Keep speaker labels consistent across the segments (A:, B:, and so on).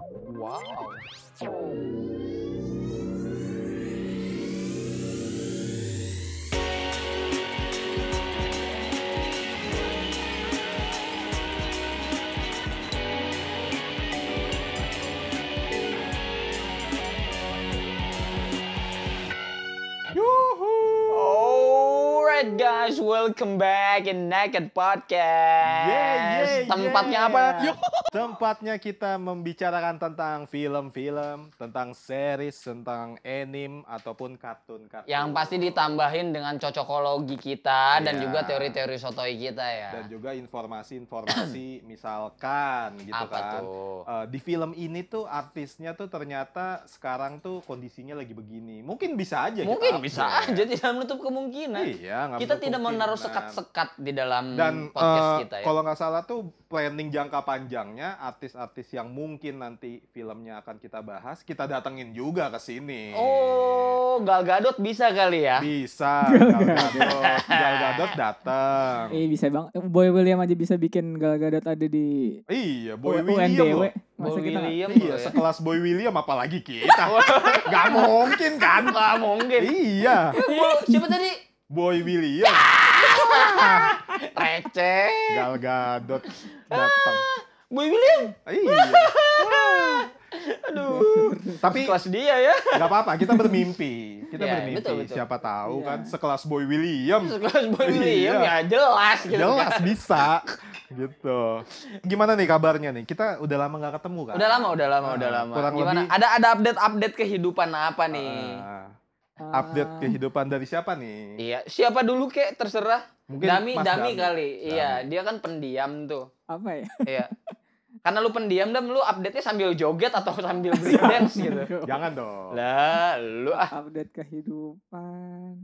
A: Wow.
B: Alright guys, welcome back in Naked Podcast.
C: Yeah, yeah,
B: Tempatnya
C: yeah.
B: apa?
C: Tempatnya kita membicarakan tentang film-film, tentang series, tentang anime ataupun kartun-kartun.
B: Yang pasti ditambahin dengan cocokologi kita dan
C: Iya.
B: juga teori-teori sotoi kita ya.
C: dan juga informasi-informasi misalkan gitu
B: apa
C: kan.
B: tuh?
C: Eh, di film ini tuh artisnya tuh ternyata sekarang tuh kondisinya lagi begini. Mungkin bisa aja. kita
D: Iya,
B: Mungkin
C: update.
B: bisa
D: ya.
B: aja tidak menutup kemungkinan.
C: Iya.
B: kita
C: nggak kan. menutup
B: tidak menaruh
C: kemungkinan.
B: sekat-sekat di dalam
C: Dan
B: Hmm, podcast
C: eh,
B: kita ya.
C: kalau nggak salah tuh planning jangka panjangnya artis-artis yang mungkin nanti filmnya akan kita bahas kita datengin juga ke sini.
B: Oh, Gal Gadot bisa kali ya?
C: Bisa. Gal Gadot, Iya. Gal Gadot datang.
D: Eh bisa bang, Boy William aja bisa bikin Gal Gadot ada di
C: Iya, Boy
D: U-
C: William.
D: UNBW.
C: loh.
B: Iya,
D: Masa
B: Boy
D: kita nggak-
B: William
C: Iya,
B: loh ya.
C: sekelas Boy William apalagi kita. Gak mungkin kan?
B: Nggak mungkin.
C: Iya,
B: Bo- Siapa tadi?
C: Boy William.
B: Receh.
C: Gal Gadot datang.
B: Boy William.
C: Iya.
B: Aduh.
C: Tapi
B: Kelas dia ya.
C: nggak apa-apa, kita bermimpi. Kita
B: Iya,
C: bermimpi.
B: betul, betul. Iya.
C: Siapa tahu
D: Iya.
C: kan sekelas Boy William.
B: Sekelas Boy William
C: Iya.
B: ya jelas gitu.
C: Jelas bisa gitu. Gimana nih kabarnya nih? Kita udah lama nggak ketemu kan?
B: Udah lama, udah lama, udah
C: Ah,
B: lama.
C: kurang
B: Gimana?
C: lebih-
B: Ada ada update-update kehidupan apa nih?
C: Ah, update
D: Ah,
C: kehidupan dari siapa nih?
B: Iya, siapa dulu kek terserah.
C: Mungkin
B: Dami,
C: Mas
B: Dami, kali.
C: Dami.
B: Iya, dia kan pendiam tuh.
D: apa ya?
B: Iya. Karena lu pendiam dan lu update-nya sambil joget atau sambil break dance gitu.
C: Jangan dong.
B: Lah, lu ah.
D: update kehidupan.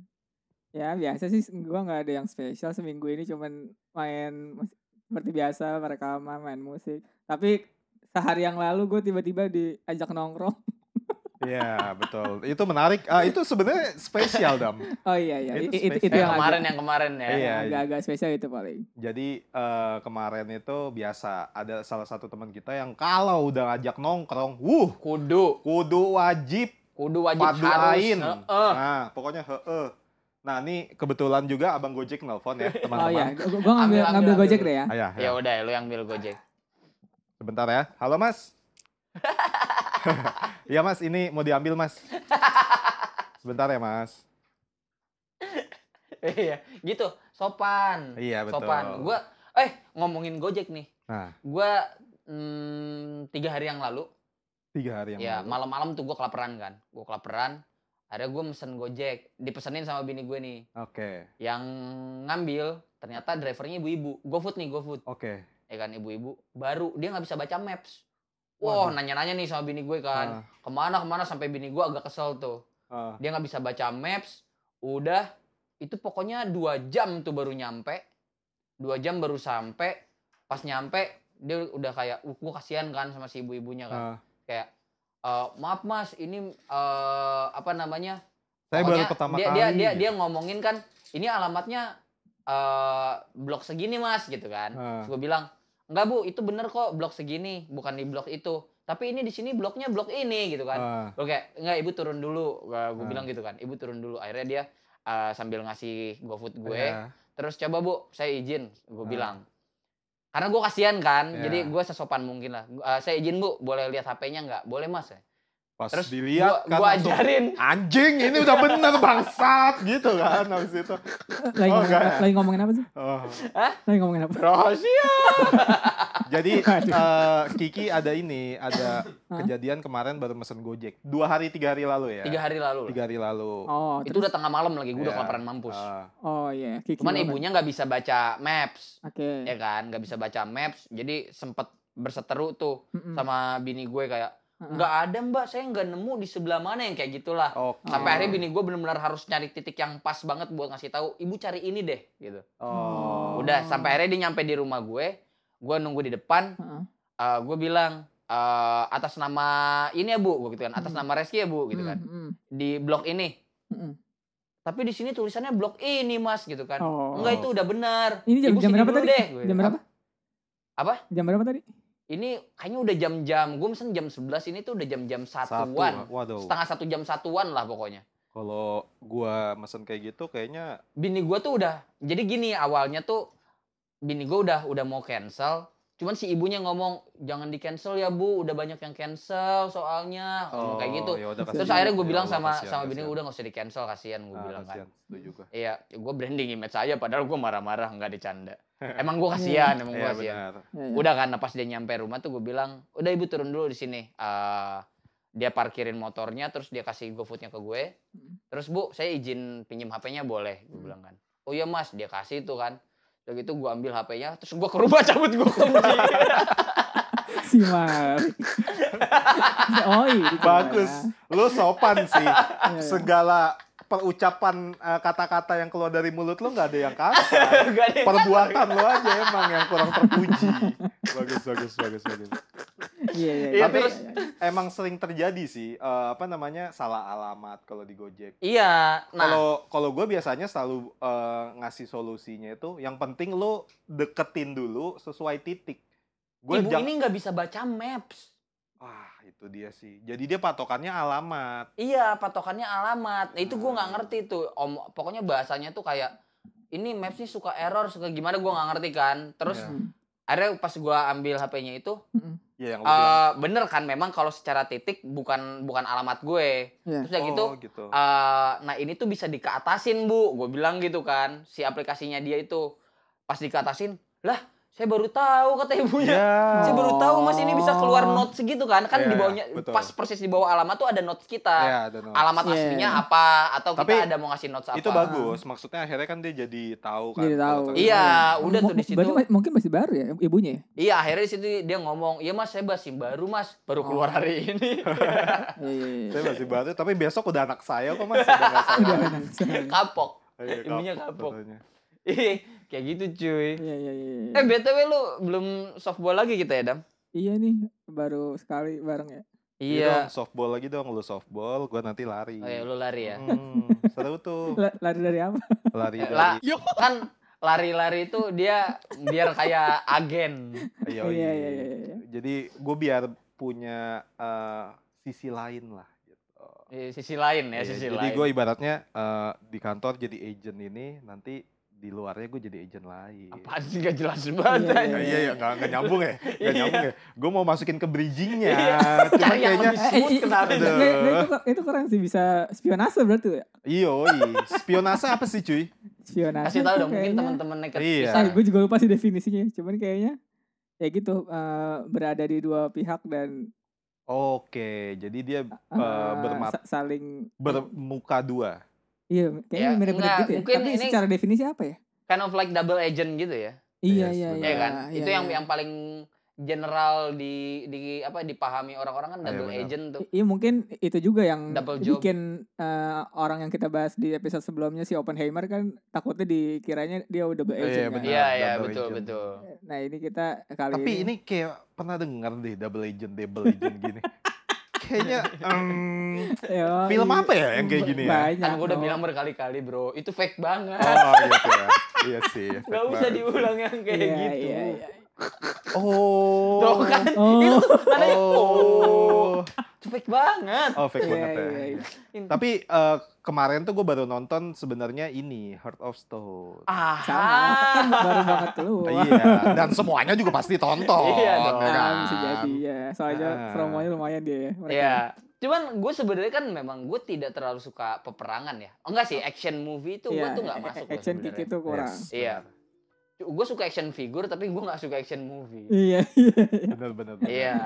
D: Ya biasa sih, gua nggak ada yang spesial seminggu ini cuman main mus- seperti biasa rekaman main musik. Tapi sehari yang lalu gue tiba-tiba diajak nongkrong.
C: Iya, betul. Itu menarik. Ah, itu sebenarnya spesial, Dam.
D: Oh iya iya,
C: Itu
D: I- itu,
C: spesial.
D: itu
B: Eh,
D: yang
B: kemarin
D: agak-
B: yang kemarin ya.
C: Iya.
D: yang agak-agak spesial itu paling.
C: Jadi eh, kemarin itu biasa ada salah satu teman kita yang kalau udah ngajak nongkrong, wuh,
B: Kudu,
C: kudu wajib
B: kudu wajib
C: paduain.
B: harus. Heeh.
C: Nah, pokoknya heeh. Nah, ini kebetulan juga Abang Gojek nelpon ya,
D: Oh iya,
C: teman-teman.
D: gue ngambil
B: Ambil,
D: ngambil,
B: ambil,
D: gojek
B: ambil.
D: deh ya.
C: Ayah,
B: Ya udah, lu yang ambil Gojek.
C: Sebentar ya. Halo, Mas. Iya, Mas, ini mau diambil, Mas. Sebentar ya, Mas.
B: Iya, gitu. Sopan.
C: Iya, betul.
B: Sopan. Gua eh ngomongin Gojek nih.
C: Nah.
B: Gua mm, tiga hari yang lalu,
C: tiga hari yang
B: ya
C: lalu.
B: malam-malam tuh gua kelaparan kan. Gua kelaparan, ada gua mesen Gojek, dipesenin sama bini gue nih.
C: Oke.
B: Yang ngambil ternyata drivernya ibu-ibu. GoFood nih, GoFood.
C: Oke.
B: Ya kan ibu-ibu baru dia nggak bisa baca maps. Wah,
C: Waduh.
B: nanya-nanya nih sama bini gue kan.
C: Ah,
B: Kemana kemana sampai bini gue agak kesel tuh.
C: ah.
B: Dia nggak bisa baca maps. Udah itu pokoknya dua jam tuh baru nyampe. Dua jam baru sampai. Pas nyampe dia udah kayak, uh, gue kasihan kan sama si ibu-ibunya kan.
C: Ah.
B: Kayak, "Eh, maaf mas, ini eh, apa namanya?
C: Saya baru
B: Pokoknya
C: pertama
B: dia,
C: kali. gitu."
B: Dia, dia, dia ngomongin kan, ini alamatnya eh blok segini mas gitu kan.
C: Ah.
B: Terus gue bilang, enggak bu, itu bener kok blok segini, bukan di blok itu. Tapi ini di sini bloknya blok ini gitu kan.
C: Ah,
B: Oke, enggak ibu turun dulu. Gue
C: Ah.
B: bilang gitu kan, ibu turun dulu. Akhirnya dia eh, sambil ngasih GoFood gue.
C: iya.
B: Terus coba bu, saya izin. Gue
C: Ah.
B: bilang. Karena gue kasihan kan,
C: Iya.
B: jadi gue sesopan mungkin lah. Gua- eh, saya izin bu, boleh lihat HP-nya nggak? Boleh mas.
C: Pas
B: Terus
C: dilihat
B: gua,
C: kan
B: gua
C: langsung,
B: ajarin.
C: anjing ini udah bener bangsat gitu kan habis itu.
D: Lagi,
C: Oh,
D: ngomongin,
C: enggak.
D: lagi ngomongin apa sih?
C: Oh.
D: Lagi ngomongin apa?
B: Rahasia.
C: Jadi
D: Waduh.
C: eh, Kiki ada ini, ada kejadian kemarin baru mesen Gojek. Dua hari tiga hari lalu ya.
B: Tiga hari lalu. lah.
C: Tiga hari lalu.
D: Oh,
B: itu udah tengah malam lagi, gue udah
C: Iya.
B: kelaparan mampus.
C: Ah,
D: Oh iya, Kiki
B: Hmm. Cuman
D: banget.
B: ibunya nggak bisa baca maps,
D: Oke.
B: ya kan? Nggak bisa baca maps, jadi sempet berseteru tuh
C: Hmm.
D: Mm-mm.
B: sama bini gue kayak
D: Heeh.
B: nggak ada mbak, saya nggak nemu di sebelah mana yang kayak gitulah.
C: Oke.
B: Sampai akhirnya bini gue benar-benar harus nyari titik yang pas banget buat ngasih tahu ibu cari ini deh, gitu.
C: Oh.
B: Udah sampai akhirnya dia nyampe di rumah gue, gue nunggu di depan,
D: Heeh.
B: eh, gue bilang eh, atas nama ini ya bu, gue gitu kan, atas
D: Hmm.
B: nama Reski ya bu, gitu kan,
D: Mm, mm,
B: di blok ini.
D: mm.
B: Tapi di sini tulisannya blok ini mas, gitu kan.
D: Oh.
B: Enggak itu udah benar.
D: Ini jam,
B: Ibu
D: jam
B: sini
D: berapa
B: dulu
D: tadi?
B: deh, gue
D: Jam
B: bilang.
D: berapa?
B: Apa?
D: Jam berapa tadi?
B: ini kayaknya udah jam-jam gue mesen jam 11 ini tuh udah jam-jam satuan
C: Waduh.
B: setengah satu jam satuan lah pokoknya
C: Kalau gua mesen kayak gitu kayaknya
B: bini gue tuh udah jadi gini awalnya tuh bini gue udah udah mau cancel cuman si ibunya ngomong jangan di cancel ya bu udah banyak yang cancel soalnya ngomong kayak gitu
C: yaudah,
B: terus
C: kasihan.
B: akhirnya gue
C: oh, Ya
B: bilang
C: Allah,
B: sama
C: kasihan,
B: sama bini
C: kasihan.
B: gue udah nggak usah di cancel kasihan gue
C: Ah,
B: bilang kan
C: kasihan. Setuju gua.
B: iya gue branding image aja padahal gue marah-marah nggak dicanda emang gue kasihan emang gue
C: Iya
B: kasihan
C: benar.
D: Ya, ya.
B: udah kan pas dia nyampe rumah tuh gue bilang udah ibu turun dulu di sini Eh, dia parkirin motornya terus dia kasih GoFoodnya ke gue
D: Hmm.
B: terus bu saya izin pinjem HP-nya boleh gue
D: Hmm.
B: bilang kan oh iya mas dia kasih tuh kan udah gitu gue ambil HP-nya terus gue ke rumah cabut gue kunci
D: si Mar. oh iya. gitu,
C: Bagus. Lu sopan sih.
D: Mar. Ya, ya.
C: Segala perucapan eh, kata-kata yang keluar dari mulut lu nggak ada yang kasar.
B: Gak ada yang-
C: Perbuatan lu aja emang yang kurang terpuji. Bagus bagus bagus bagus.
D: Iya iya.
B: Iya,
D: iya,
C: terus-
D: iya,
C: Emang sering terjadi sih eh, apa namanya salah alamat kalau di Gojek.
B: iya nah
C: Kalau kalau gue biasanya selalu eh, ngasih solusinya itu yang penting lu deketin dulu sesuai titik. Gue
B: ibu
C: jangan
B: ini nggak bisa baca maps
C: ah itu dia sih. Jadi dia patokannya alamat.
B: Iya, patokannya alamat. Nah, itu gue nggak
C: Hmm.
B: ngerti tuh. Om, pokoknya bahasanya tuh kayak ini maps nih suka error, suka gimana gue nggak ngerti kan. Terus
C: Iya.
D: iya.
B: akhirnya pas gue ambil HP-nya itu,
D: Mm-mm.
C: Ya yang lu bilang.
B: eh, bener kan memang kalau secara titik bukan bukan alamat gue.
D: Iya.
B: Terus udah gitu,
C: Oh, gitu.
B: eh, nah ini tuh bisa dikeatasin bu, gue bilang gitu kan. Si aplikasinya dia itu pas dikeatasin, lah saya baru tahu kata ibunya.
C: Ya.
B: Saya baru tahu mas ini bisa keluar
D: Oh.
B: notes gitu kan. Kan
C: Iya,
B: di bawahnya,
C: betul.
B: pas persis di bawah alamat tuh ada notes kita
C: Ya, I don't know.
B: alamat
D: Iya.
B: aslinya apa atau
C: Tapi
B: kita ada mau ngasih notes apa
C: itu bagus. Maksudnya akhirnya kan dia jadi tahu kan.
D: Jadi tahu.
C: kalau
B: iya
C: terjadi.
B: udah tuh di situ
D: Berarti ma- mungkin masih baru ya ibunya. ya?
B: iya akhirnya di situ dia ngomong iya mas saya basim baru mas baru
C: Oh.
B: keluar hari ini
D: Iya iya. iya.
C: Saya masih baru, tapi besok udah anak saya kok mas. Udah nggak saya.
D: Udah, anak saya.
B: kapok
C: Iya,
B: Ibunya kapok.
C: katanya.
B: Ih, kayak gitu cuy
D: Iya iya iya. iya.
B: eh btw lu belum softball lagi kita ya dam
D: Iya nih baru sekali bareng ya.
C: Iya.
B: iya
C: dong, softball lagi dong, lu softball, gue nanti lari.
B: oh ya lu lari ya
C: Hmm, seru tuh
D: La- Lari dari apa?
C: lari
B: Eh,
C: dari
B: la- kan lari-lari itu dia biar kayak agen
C: Iya,
D: Iya,
C: iya.
D: iya, iya, iya.
C: Jadi gue biar punya eh, sisi lain lah. Gitu.
B: Di sisi lain ya
C: Iya,
B: sisi
C: jadi
B: lain
C: gue ibaratnya eh, di kantor jadi agent ini, nanti di luarnya gue jadi agent lain.
B: apaan sih gak jelas banget
D: Iya,
C: Ya,
B: anjing.
C: iya, iya, nggak nggak nyambung ya, nggak
B: Iya.
C: nyambung ya. Gue mau masukin ke bridgingnya,
B: Iya,
C: cuma
B: cari yang
C: kayaknya
B: lebih smooth kenapa
C: Aduh.
D: Nggak, nggak, itu, itu keren sih bisa spionase berarti ya.
C: iyo, Iya, spionase apa sih cuy?
D: Spionase.
B: kasih tahu
D: tuh
B: dong mungkin
D: kayaknya-
B: teman-teman nekat
C: Iya.
D: Ah, gue juga lupa sih definisinya. Cuman kayaknya ya gitu eh, berada di dua pihak dan
C: Oke, jadi dia
D: eh,
C: Eh, bermat-
D: sa- saling
C: bermuka dua.
D: iya kayaknya
B: Ya,
D: mirip-mirip
B: enggak,
D: gitu ya.
B: mungkin
D: Tapi
B: ini-
D: secara definisi apa ya?
B: kind of like double agent gitu ya
D: Iya
C: Yes,
D: iya
C: benar.
D: iya.
B: ya kan
D: iya,
B: itu yang
D: iya.
B: yang paling general di di apa dipahami orang-orang kan
C: Iya,
B: double
C: benar.
B: agent tuh
D: I- Iya mungkin itu juga yang
B: Double job.
D: bikin eh, orang yang kita bahas di episode sebelumnya si Oppenheimer kan takutnya dikiranya dia udah double
C: Iya,
D: agent kan.
C: benar.
B: iya iya
C: double
B: betul
C: agent.
B: betul
D: Nah ini kita kali
C: Tapi ini kayak pernah dengar deh double agent, double agent gini. Kayaknya em,
D: Yoi.
C: film apa ya yang kayak gini ya?
D: Oh, iya. Banyak. Oh.
B: kan gue udah
D: dong.
B: bilang berkali-kali bro itu fake banget
C: oh gitu ya. Iya sih. efek
B: nggak usah
C: banget.
B: diulang yang kayak
D: Iya,
B: gitu
D: iya, iya.
C: Oh.
B: Tuh kan,
D: Oh.
B: itu makanya,
C: Oh.
B: oh, itu fake banget.
C: Oh, fake
D: Iya,
C: banget ya.
D: iya, iya.
C: Tapi eh, kemarin tuh gue baru nonton sebenarnya ini Heart of Stone.
B: Ah,
D: Sama kan baru banget keluar.
C: Iya, dan semuanya juga pasti tonton.
B: Iya
C: ya
B: dong.
C: kan?
D: Ah, bisa jadi ya. Soalnya
C: Ah.
D: promonya lumayan dia ya. mereka.
B: Iya. Cuman gue sebenarnya kan memang gue tidak terlalu suka peperangan ya. Oh, enggak sih, action movie tuh gue
D: Iya,
B: tuh nggak
D: a- a-
B: masuk. gua
D: Action kick
B: sebenarnya.
D: itu kurang.
C: Yes,
B: Iya. Gue suka action figure tapi gue nggak suka action movie.
D: Iya, iya.
C: Benar benar. benar.
B: Iya.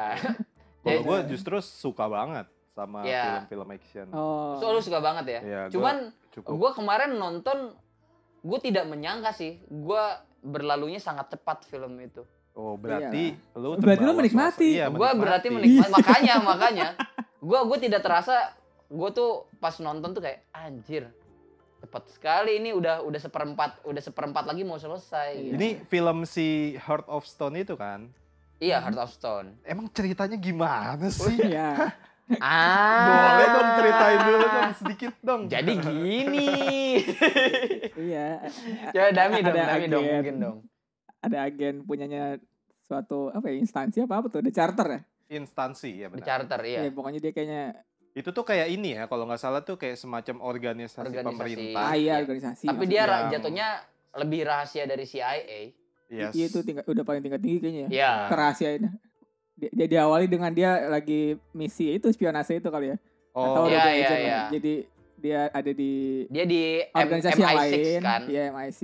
C: Kalau
B: Jadi-
C: gue justru suka banget sama
B: Iya.
C: film-film action.
D: Oh.
B: So lu suka banget ya.
C: Iya, gua
B: Cuman
C: cukup.
B: gue kemarin nonton gue tidak menyangka sih gue berlalunya sangat cepat film itu.
C: Oh, berarti lu
D: Iya. Berarti lu
C: terbawa
D: menikmati.
C: suasana- Iya,
B: gue berarti
C: menikmati.
B: menikmati makanya makanya gue gue tidak terasa gue tuh pas nonton tuh kayak anjir cepat sekali ini udah udah seperempat udah seperempat lagi mau selesai.
D: Iya.
B: gitu.
C: Ini film si Heart of Stone itu kan.
B: Iya Heart of Stone.
C: Emang ceritanya gimana
D: Oh,
C: sih?
D: Iya.
B: Ah.
C: Boleh dong ceritain dulu dong sedikit dong.
B: Jadi gini.
D: Iya.
B: ya dami dong,
D: Ada
B: dami dong
D: agen.
B: mungkin dong.
D: Ada agen punyanya suatu apa ya, instansi apa apa tuh the charter ya?
C: Instansi ya
B: Di
C: benar.
B: charter iya.
D: Ya, pokoknya dia kayaknya
C: Itu tuh kayak ini ya kalau nggak salah tuh kayak semacam organisasi,
B: Organisasi.
C: pemerintah.
D: ah
B: iya.
D: iya organisasi.
B: Tapi dia ra-
C: yang-
B: jatuhnya lebih rahasia dari CIA.
C: Yes.
D: Iya itu tingkat udah paling tingkat tinggi kayaknya. Ya.
B: Iya.
D: Kerahasiaannya. Dia, dia diawali dengan dia lagi misi itu spionase itu kali ya.
B: Iya,
C: Oh,
D: udah punya
B: iya,
D: agent
B: iya.
D: lah. Jadi dia ada di
B: Dia di M-
D: organisasi yang
B: MI6
D: lain,
B: kan.
D: Iya MI6,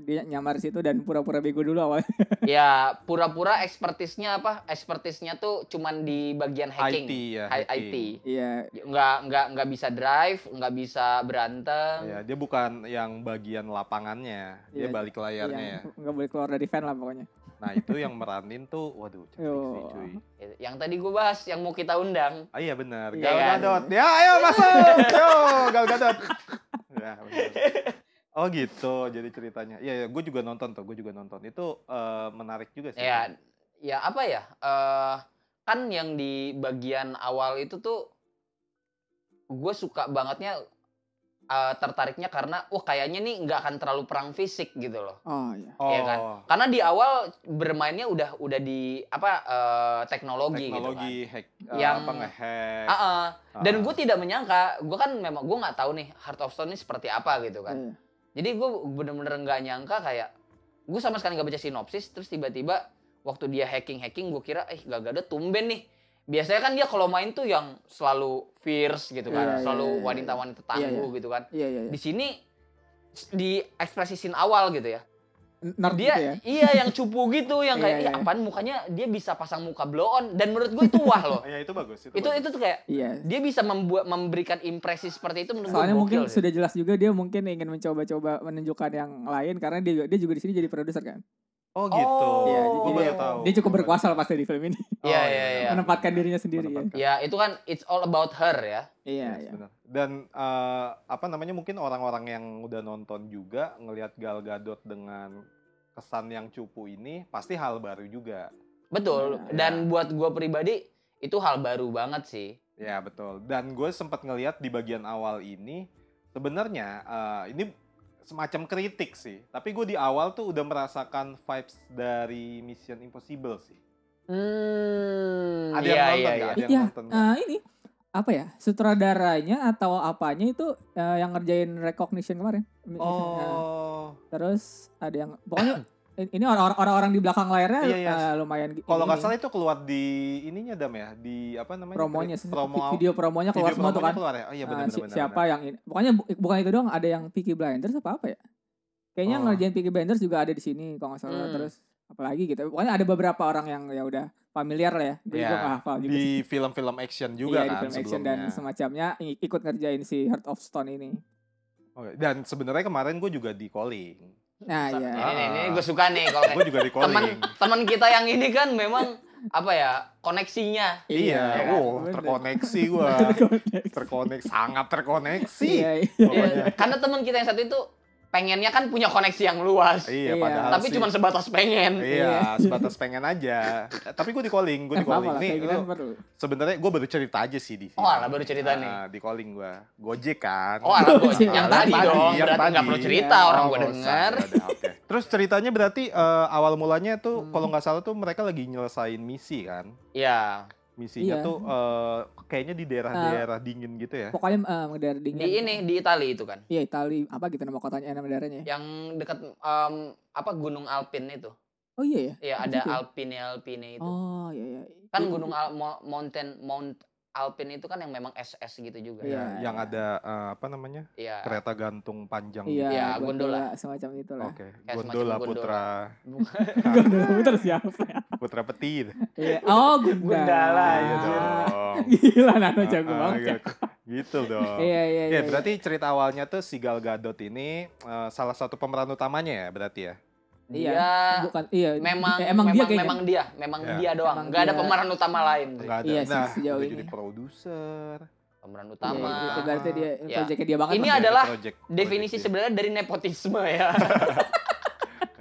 D: dia nyamar situ dan pura-pura bego dulu awalnya.
B: Ya, pura-pura ekspertisnya apa? Ekspertisnya tuh cuman di bagian
C: IT
B: hacking.
C: ya.
B: Hi- IT.
C: hacking.
D: Iya,
B: Nggak nggak nggak bisa drive, nggak bisa berantem.
C: Ya, dia bukan yang bagian lapangannya, dia
D: Iya,
C: balik
D: yang
C: layarnya ya.
D: nggak boleh keluar dari fan lah pokoknya.
C: Nah itu yang meranin tuh, waduh cantik sih
D: Yo.
C: cuy.
B: Yang tadi gue bahas, yang mau kita undang.
C: Ah iya benar,
D: Iya
C: Gal
B: kan?
C: Gadot. Ya ayo masuk, yo Gal Gadot. Ya, benar. oh gitu, jadi ceritanya. Iya, ya, gue juga nonton tuh, gue juga nonton. Itu eh, menarik juga sih.
B: Ya, ya apa ya? Eh kan yang di bagian awal itu tuh gue suka bangetnya eh, tertariknya karena wah kayaknya nih nggak akan terlalu perang fisik gitu loh.
D: Oh iya.
C: Oh,
B: Iya kan? Karena di awal bermainnya udah udah di apa eh, teknologi,
C: teknologi ya.
B: gitu
C: hack, yang
B: Yang-
C: apa ngehack.
B: kan. Ah, ah. Dan
C: Ah.
B: gue tidak menyangka, gue kan memang gue nggak tahu nih Heart of Stone ini seperti apa gitu kan.
D: Iya.
B: Jadi gue bener-bener nggak nyangka kayak gue sama sekali nggak baca sinopsis, terus tiba-tiba waktu dia hacking-hacking gue kira eh gak ada tumben nih. Biasanya kan dia kalau main tuh yang selalu fierce gitu
D: Iya,
B: kan,
D: iya, iya,
B: selalu
D: iya.
B: wanita-wanita
D: Iya, iya.
B: tangguh gitu kan.
D: Iya iya.
B: Di sini di ekspresi scene awal gitu ya.
D: Nerd
B: dia
D: gitu ya.
B: iya yang cupu gitu yang kayak
D: Iya,
B: iya,
D: iya.
B: apaan mukanya dia bisa pasang muka blow on dan menurut gue itu wah loh
C: Ah, ya itu bagus. Itu,
B: itu
C: bagus.
B: itu tuh kayak
D: Iya.
B: dia bisa membuat memberikan impresi seperti itu menurut gue
D: Soalnya
B: gokil
D: mungkin
B: sih.
D: sudah jelas juga dia mungkin ingin mencoba-coba menunjukkan yang lain karena dia juga- dia juga di sini jadi produser kan.
C: Oh gitu.
B: Oh.
D: Iya,
C: gue
D: jadi
C: baru
D: dia-
C: tahu.
D: Dia cukup
C: Gua baru
D: berkuasa lah
C: tahu.
D: pasti di film ini.
C: Oh,
B: Iya, iya, iya.
D: Menempatkan dirinya sendiri, ya.
C: Menempatkan.
B: ya itu kan it's all about her ya
D: Iya
C: Yes,
D: iya.
C: benar. Dan eh, apa namanya mungkin orang-orang yang udah nonton juga ngelihat Gal Gadot dengan kesan yang cupu ini pasti hal baru juga.
B: betul
D: Iya.
B: dan buat gue pribadi itu hal baru banget sih
C: Ya betul. Dan gue sempat ngelihat di bagian awal ini sebenarnya eh, ini semacam kritik sih. Tapi gue di awal tuh udah merasakan vibes dari Mission Impossible sih.
B: hmm
C: Ada
B: iya
C: yang
B: iya
C: nonton nggak?
B: iya
C: Ada yang
D: Iya,
C: nonton nggak?
D: eh, ini apa ya sutradaranya atau apanya itu eh, yang ngerjain recognition kemarin. Nah,
C: Oh,
D: terus ada yang pokoknya ini orang-orang orang-orang di belakang layarnya
C: Iya, iya.
D: eh, lumayan gi-
C: kalau
D: ini
C: nggak
D: nih,
C: salah ya, itu keluar di ininya dam ya di apa namanya?
D: promonya
C: Kri- promo
D: vi- video promonya
C: video
D: keluar semua tuh
C: promonya
D: kan.
C: keluar ya? Oh iya
D: Eh,
C: benar-benar.
D: si-
C: benar,
D: siapa
C: benar.
D: yang ini? Pokoknya bu- bukan itu doang, ada yang Peaky Blinders apa apa ya? Kayaknya yang
C: Oh.
D: ngerjain Peaky Blinders juga ada di sini kalau nggak salah.
B: Hmm.
D: Terus apalagi gitu. Pokoknya ada beberapa orang yang ya udah familiar lah ya. Gue juga
C: Iya,
D: nggak hafal juga. sih.
C: di film-film action juga
D: Iya,
C: kan
D: di film action dan
C: sebelumnya.
D: semacamnya i- ikut ngerjain si Heart of Stone ini.
C: Oke, dan sebenarnya kemarin gue juga di calling.
D: Nah,
B: Sa-
D: iya.
C: ah,
B: ini, ini, ini gue suka nih kalau
C: Gue juga di calling.
B: teman teman kita yang ini kan memang apa ya koneksinya
C: iya,
B: Iya,
C: wow,
D: ya kan? bener.
C: terkoneksi gue.
D: Terkoneksi.
C: terkoneksi, sangat terkoneksi.
D: Iya, iya.
C: Pokoknya.
B: Iya, karena teman kita yang satu itu pengennya kan punya koneksi yang luas.
C: Iya,
D: Iya.
C: padahal
B: Tapi
C: sih-
B: cuma sebatas pengen.
C: Iya,
D: Iya.
C: sebatas pengen aja. Tapi gue di calling, gue
D: Eh,
C: di calling.
D: apa-apa lah,
C: Nih,
D: kayak gitu
C: lu-
D: kan perlu.
C: sebenarnya gue baru cerita aja sih di sini.
B: Oh, alah, baru cerita
C: Ah,
B: nih.
C: Di calling gue, Gojek kan.
B: Oh, alah gue
D: Iya,
B: yang
D: alah,
B: tadi dong.
D: tadi,
C: yang
B: berarti nggak
C: tadi.
B: perlu cerita
D: Iya.
B: orang
C: Oh,
B: gue
C: nggak usah,
B: denger.
C: nggak ada, oke. Terus ceritanya berarti eh, awal mulanya tuh
D: Hmm.
C: kalau nggak salah tuh mereka lagi nyelesain misi kan.
B: Iya.
C: Misinya
D: Iya. Ah.
C: tuh eh, kayaknya di daerah-daerah dingin gitu ya.
D: Pokoknya eh, daerah dingin.
B: Di ini di Itali itu kan.
D: Iya, Itali apa gitu nama kotanya nama daerahnya ya?
B: Yang dekat em, apa Gunung Alpin itu.
D: Oh iya ya.
B: Iya,
D: Oh,
B: ada
D: gitu ya?
B: Alpine Alpine itu.
D: Oh iya iya.
B: Gitu. Kan
D: Iya,
B: Gunung Al- Mo- Mountain Mount Alpine itu kan yang memang SS gitu juga.
D: Iya.
C: Ya, Yang ada eh, apa namanya?
B: Iya.
C: kereta gantung panjang
D: Iya,
B: Iya, gondola.
D: gondola, semacam itulah.
C: Oke,
B: Kayak
C: gondola
B: semacam gondola.
C: putra
D: gondola putar siapa? ya?
C: putra petir.
D: Iya. Oh, Gundala.
B: Gundala, Ah.
C: Iya dong.
D: Gila, Nano
C: Ah,
D: jago
C: ah,
D: banget. ya.
C: gitu. Gitu dong.
D: Iya, iya,
C: Oke,
D: iya.
C: berarti cerita awalnya tuh si Gal Gadot ini eh, salah satu pemeran utamanya ya berarti ya.
D: Hmm.
B: Dia
D: bukan iya.
B: Eh, memang
D: eh,
B: memang
D: emang dia kayaknya.
B: memang dia, memang
C: Iya.
B: dia doang.
D: Emang
B: nggak ada
D: dia.
B: pemeran utama lain. sih.
C: Enggak ada.
D: Iya sih,
C: nah,
D: sejauh
C: udah
D: ini.
C: jadi produser.
B: Pemeran
D: Iya,
B: utama.
D: itu Iya. berarti dia
B: Iya.
D: proyeknya dia banget. ya.
B: Ini
D: lah.
C: Jadi
B: adalah
C: project- project
B: Definisi
C: dia.
B: sebenarnya dari nepotisme ya.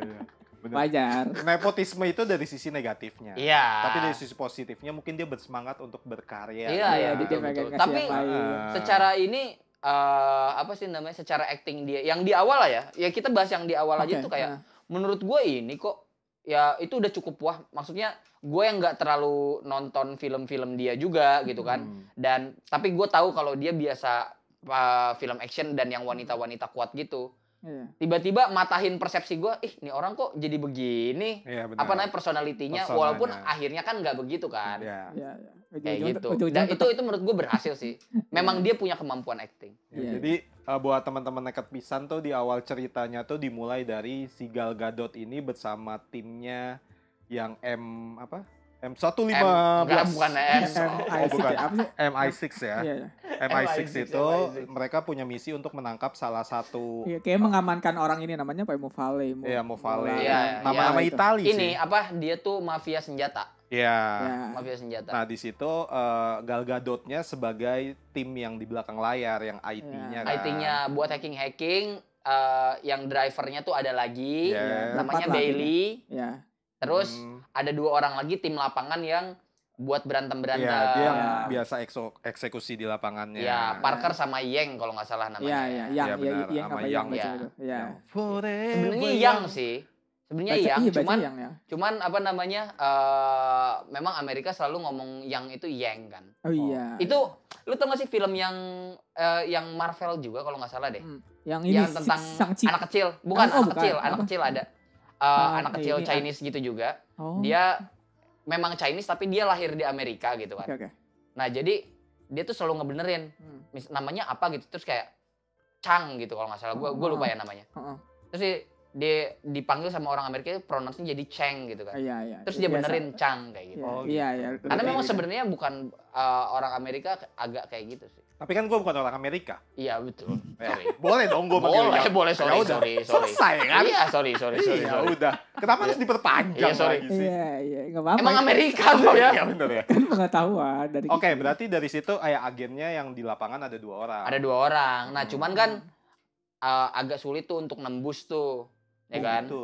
C: Iya, bener.
D: wajar.
C: Nepotisme itu dari sisi negatifnya.
B: Iya.
C: Tapi dari sisi positifnya mungkin dia bersemangat untuk berkarya.
B: Iya,
D: iya,
B: betul, betul.
D: dia pengen kasih
B: Tapi-
D: yang lain.
C: Ah.
B: secara ini eh apa sih namanya secara acting dia yang di awal lah ya ya kita bahas yang di awal aja
D: Oke,
B: tuh kayak
D: ah.
B: menurut gue ini kok ya itu udah cukup wah maksudnya gue yang nggak terlalu nonton film-film dia juga gitu kan
C: Hmm.
B: dan tapi gue tahu kalau dia biasa uh, film action dan yang wanita-wanita kuat gitu
D: Iya.
B: tiba-tiba matahin persepsi gue ih ini orang kok jadi begini
C: Iya benar.
B: apa namanya personalitinya
C: Personanya.
B: walaupun akhirnya kan nggak begitu kan
C: Iya.
D: Iya, iya.
B: kayak
D: Ujung-ujung-
B: gitu
D: ujung-ujung
B: dan itu
D: tetep-
B: itu menurut gue berhasil sih memang dia punya kemampuan acting
C: Ya,
D: Iya.
C: Jadi eh, buat teman-teman nekat pisan tuh di awal ceritanya tuh dimulai dari si Gal Gadot ini bersama timnya yang M apa? M115.
B: M, enggak, bukan eh. M
C: Oh,
D: MI6
C: bukan.
D: ya, apa sih?
C: MI6 ya.
D: Iya, iya.
C: MI6
B: MI6.
C: itu mereka punya misi untuk menangkap salah satu
D: Iya, kayak mengamankan orang ini namanya Pak Mufale. Mu-
C: ya Movale.
D: Mufale.
B: Iya,
C: Nama-nama
D: itu.
C: Itali
B: ini
C: sih.
B: apa dia tuh mafia senjata
C: Iya.
D: Ya.
B: mafia senjata
C: Nah, di situ eh, Gal Gadotnya sebagai tim yang di belakang layar yang
B: Iya,
C: IT-nya kan.
B: IT-nya buat hacking hacking eh, yang drivernya tuh ada lagi
C: Iya.
B: namanya
D: Empat lah gitu
B: Bailey
D: Ya.
B: terus
C: Hmm.
B: ada dua orang lagi tim lapangan yang buat berantem berantem
C: Iya,
B: eh,
C: dia yang Iya.
D: Iya.
C: biasa ekso- eksekusi di lapangannya.
B: ya Parker sama Yang kalau nggak salah namanya
D: Iya, iya, yang
C: Iya,
D: ya,
C: benar,
D: yang
C: sama
D: apa
C: yang,
D: yang baca
B: ya.
D: itu. Iya.
C: Yang forever
B: sebenarnya
C: young.
B: Yang sih sebenarnya
D: Baca-
B: Yang
D: iya, baca
B: cuman
D: yang ya.
B: cuman apa namanya eh, memang Amerika selalu ngomong Yang itu Yang kan
D: Oh iya.
B: itu lu tau gak sih film yang eh, yang Marvel juga kalau nggak salah deh
D: Hmm, yang ini
B: yang tentang
D: sang Ci-
B: anak kecil bukan
D: Oh,
B: anak
D: bukan.
B: kecil anak
D: Apa?
B: kecil ada Eh,
D: Ah,
B: anak kecil
D: ini, ah.
B: Chinese gitu juga
D: Oh,
B: dia memang Chinese tapi dia lahir di Amerika gitu
D: Oke,
B: kan
D: oke.
B: nah jadi dia tuh selalu ngebenerin
D: Hmm,
B: mis- namanya apa gitu terus kayak Chang gitu kalau nggak salah gue gue
D: Oh.
B: lupa ya namanya
D: heeh.
B: terus dia, dia dipanggil sama orang Amerika itu pronounce-nya jadi Cheng gitu kan
D: Iya, iya.
B: terus dia
D: Biasa.
B: benerin Chang kayak gitu
D: Iya,
C: Oh,
D: Iya,
C: gitu.
D: iya.
B: karena
D: lebih-
B: memang sebenarnya bukan uh, orang Amerika agak kayak gitu sih
C: Tapi kan gue bukan orang Amerika.
B: iya betul sorry
C: Eh, boleh dong gue panggil
B: boleh
C: yang.
B: boleh sorry
C: Ya udah.
B: sorry sorry
C: Selesai kan?
B: iya sorry sorry sorry,
C: Iya,
B: sorry.
C: udah. Kenapa harus diperpanjang
B: Iya, sorry.
C: lagi sih?
D: Iya, iya. Enggak apa-apa.
B: emang Amerika tuh
C: Oh,
B: ya
C: iya, bener ya.
D: kan pengetahuan dari
C: Oke, berarti dari situ kayak agennya yang di lapangan ada dua orang.
B: ada dua orang nah
C: Hmm.
B: cuman kan uh, agak sulit tuh untuk nembus tuh ya
C: Oh,
B: kan
C: gitu.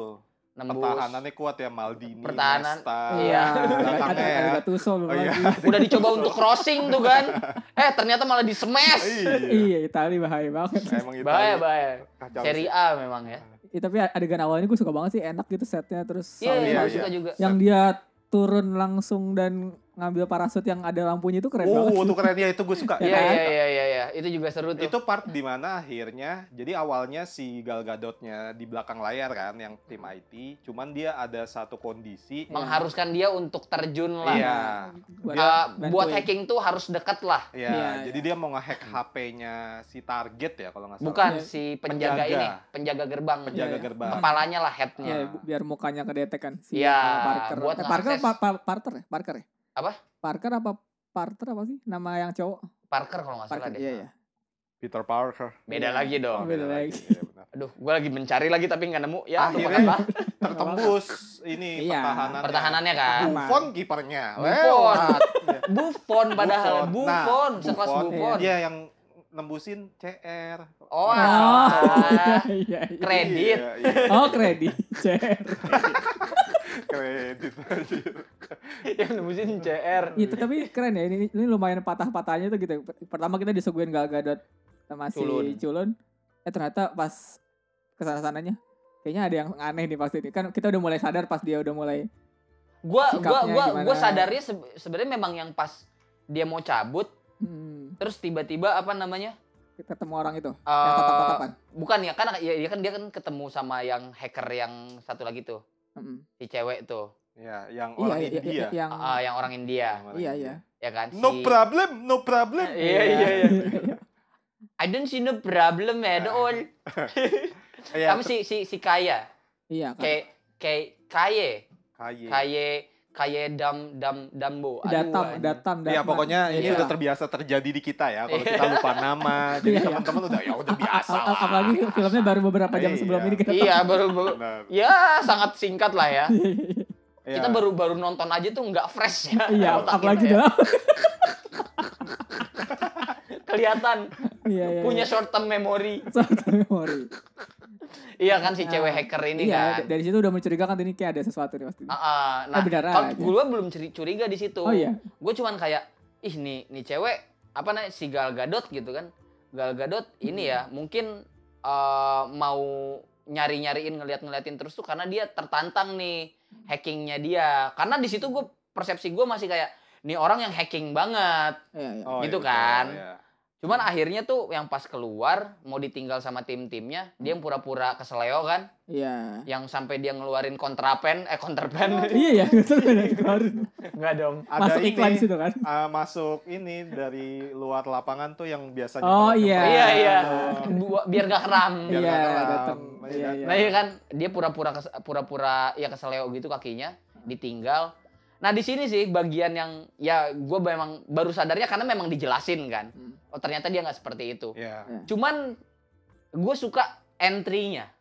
B: nembus
C: Pertahanannya kuat ya Maldini,
B: Pertahanan.
C: Nesta.
B: Iya.
D: ada ada,
C: Belakangnya ya.
D: ada Gattuso belum
C: Oh, iya.
D: lagi.
B: udah dicoba untuk crossing tuh kan eh ternyata malah di smash
C: Iya.
D: Iya, Itali bahaya banget.
C: Emang itu.
B: bahaya bahaya
C: Kacau
B: seri
C: sih.
B: A memang ya
D: Ya, tapi adegan awalnya gue suka banget sih, enak gitu setnya terus
B: iya
D: sound
B: iya, gue
C: Sorry, sorry.
D: effect.
B: suka juga
D: yang dia turun langsung dan ngambil parasut yang ada lampunya itu keren
C: Oh,
D: banget.
C: itu keren ya itu gue suka.
B: iya iya iya iya iya. itu juga seru tuh
C: Itu part di mana akhirnya, jadi awalnya si Gal Gadotnya di belakang layar kan, yang tim
B: Hmm.
C: IT, cuman dia ada satu kondisi.
D: Iya.
B: mengharuskan dia untuk terjun lah
C: Iya.
D: Buat-
B: Uh, buat
D: bantuin.
B: hacking tuh harus dekat lah
C: Iya,
D: Iya,
C: jadi dia mau ngehack HP-nya si target ya kalau nggak salah.
B: bukan
D: Iya.
B: si penjaga,
C: Penjaga.
B: ini penjaga gerbang
C: Penjaga
D: Iya, iya.
C: gerbang.
B: kepalanya lah
D: Iya,
B: headnya
D: bu- biar mukanya kedetek kan si
B: Iya,
D: uh, Parker.
B: buat
D: eh, Parker
B: ngakses.
D: apa pa- Parter ya? Parker ya?
B: Apa?
D: Parker apa Parter apa sih nama yang cowok?
B: Parker kalau nggak salah deh
D: Parker. Iya, iya.
C: Peter Parker.
B: beda
D: Iya.
B: lagi
C: Oh,
B: dong
D: Beda lagi.
C: Iya, benar.
B: aduh gue lagi mencari lagi tapi nggak nemu ya lu
C: Akhirnya.
B: apa
C: Tertembus ini
D: Iya.
C: pertahanannya.
B: pertahanannya kan
C: Buffon kipernya.
B: Buffon.
C: Lewat.
B: Buffon padahal
C: Buffon. Nah,
B: Buffon sekelas
C: Buffon,
B: Buffon
C: Dia Iya, yang nembusin CR.
B: iya. oh,
D: iya,
B: alah.
D: iya, iya.
B: Kredit.
C: Iya, iya.
D: Oh, kredit. Cer.
C: Kredit. anjir.
B: yang nembusin CR
D: itu tapi keren ya ini, ini lumayan patah-patahnya tuh gitu. Pertama kita disuguhin Gal Gadot sama si
B: Culun.
D: Culun. Eh ternyata pas kesana sananya kayaknya ada yang aneh nih pasti ini. Kan kita udah mulai sadar pas dia udah mulai
B: gua gua
D: Sikapnya
B: gua gua
D: gimana?
B: sadarnya sebe- sebenarnya memang yang pas dia mau cabut
D: hmm,
B: terus tiba-tiba apa namanya
D: ketemu orang itu.
B: eh
D: yang tatap-tatapan.
B: bukan ya kan ya, dia kan dia kan ketemu sama yang hacker yang satu lagi tuh
D: Mm.
B: si cewek tuh
C: Iya, yang
D: Iya,
C: orang
D: iya,
C: India.
D: iya, yang
B: Ah, yang orang India
C: Orang
D: iya,
C: India.
D: iya.
B: ya kan
C: No
B: si-
C: problem, no problem.
B: Iya, iya, iya. I don't see no problem at all.
C: Iya,
B: Kamu si si si Kaya,
D: Iya, kan.
B: kayak kayak Kaye,
C: kaye.
B: Kaye, Kaye Dam Dam Dambo. Aduh,
D: datam,
B: anjing.
D: datam, datam.
C: Iya, pokoknya ini
D: Iya.
C: udah terbiasa terjadi di kita ya. Kalau kita lupa nama, jadi
D: Iya, iya.
C: teman-teman udah ya udah biasa
D: Al-
C: lah.
D: al- Apalagi filmnya baru beberapa jam sebelum
C: Iya.
D: ini kan. kita
B: Iya baru baru.
C: Benar.
B: Ya sangat singkat lah ya.
C: Iya.
B: Kita baru baru nonton aja tuh nggak fresh ya.
D: Iya,
B: otak
D: apalagi
B: kita ya.
D: dalam.
B: kelihatan
D: Iya, iya.
B: punya
D: iya.
B: short term memory.
D: Short memory.
B: Iya kan si
D: Nah,
B: cewek hacker ini
D: iya,
B: kan.
D: d- dari situ udah mencurigakan ini kayak ada sesuatu nih pasti.
B: Ah, ah. nah,
D: Eh, beneran
B: kalau
D: aja.
B: gue belum curi- curiga di situ.
D: Oh iya.
B: Gue cuman kayak, ih nih, nih cewek apa namanya si Hmm. Gal Gadot gitu kan. Gal Gadot ini ya mungkin eh, mau nyari-nyariin ngeliat-ngeliatin terus tuh karena dia tertantang nih hackingnya dia karena di situ gue persepsi gue masih kayak nih orang yang hacking banget
D: Iya, iya.
C: Oh,
B: Gitu
C: iya, betul,
B: kan.
C: iya.
B: cuman akhirnya tuh yang pas keluar mau ditinggal sama tim-timnya dia yang pura-pura keseleo kan
D: Iya.
B: yang sampai dia ngeluarin kontrapen eh kontrapen
D: Iya ya, betul benar keluarin.
B: nggak dong
C: Ada
D: Masuk
C: ini,
D: iklan situ kan.
C: eh, masuk ini dari luar lapangan tuh yang biasanya
D: Oh,
C: tempat-
D: iya.
B: iya iya
C: Oh.
B: Bu- biar gak kram
C: Biar
D: Iya,
C: nggak kelam.
D: datang.
C: Masih
D: Iya,
C: datang.
B: nah iya kan dia pura-pura kes- pura-pura ya keseleo gitu kakinya ditinggal nah di sini sih bagian yang ya gue memang baru sadarnya karena memang dijelasin kan
D: Hmm.
B: oh ternyata dia nggak seperti itu
C: Iya.
B: cuman gue suka entry-nya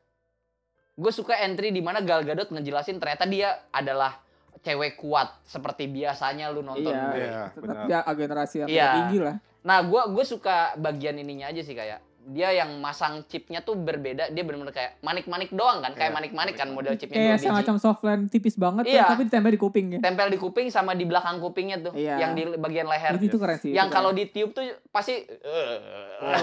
B: gue suka entry di mana Gal Gadot ngejelasin ternyata dia adalah cewek kuat seperti biasanya lu nonton
D: Iya.
B: movie.
C: Iya,
D: Tetap
C: benar.
D: ya generasi yang
B: Iya.
D: tinggi lah.
B: Nah, gue gue suka bagian ininya aja sih kayak dia yang masang chipnya tuh berbeda. Dia bener-bener kayak manik-manik doang kan, kayak
C: Iya,
B: manik-manik kan model
C: manik-manik.
B: chipnya dua
D: Kayak
B: biji.
D: semacam softland tipis banget
B: Iya.
D: tapi ditempel di kuping ya.
B: Tempel di kuping sama di belakang kupingnya tuh,
D: Iya.
B: yang di bagian leher.
D: Itu, itu keren sih.
B: yang
D: itu ya.
B: kalau
D: keren.
B: ditiup tuh pasti
D: Wah,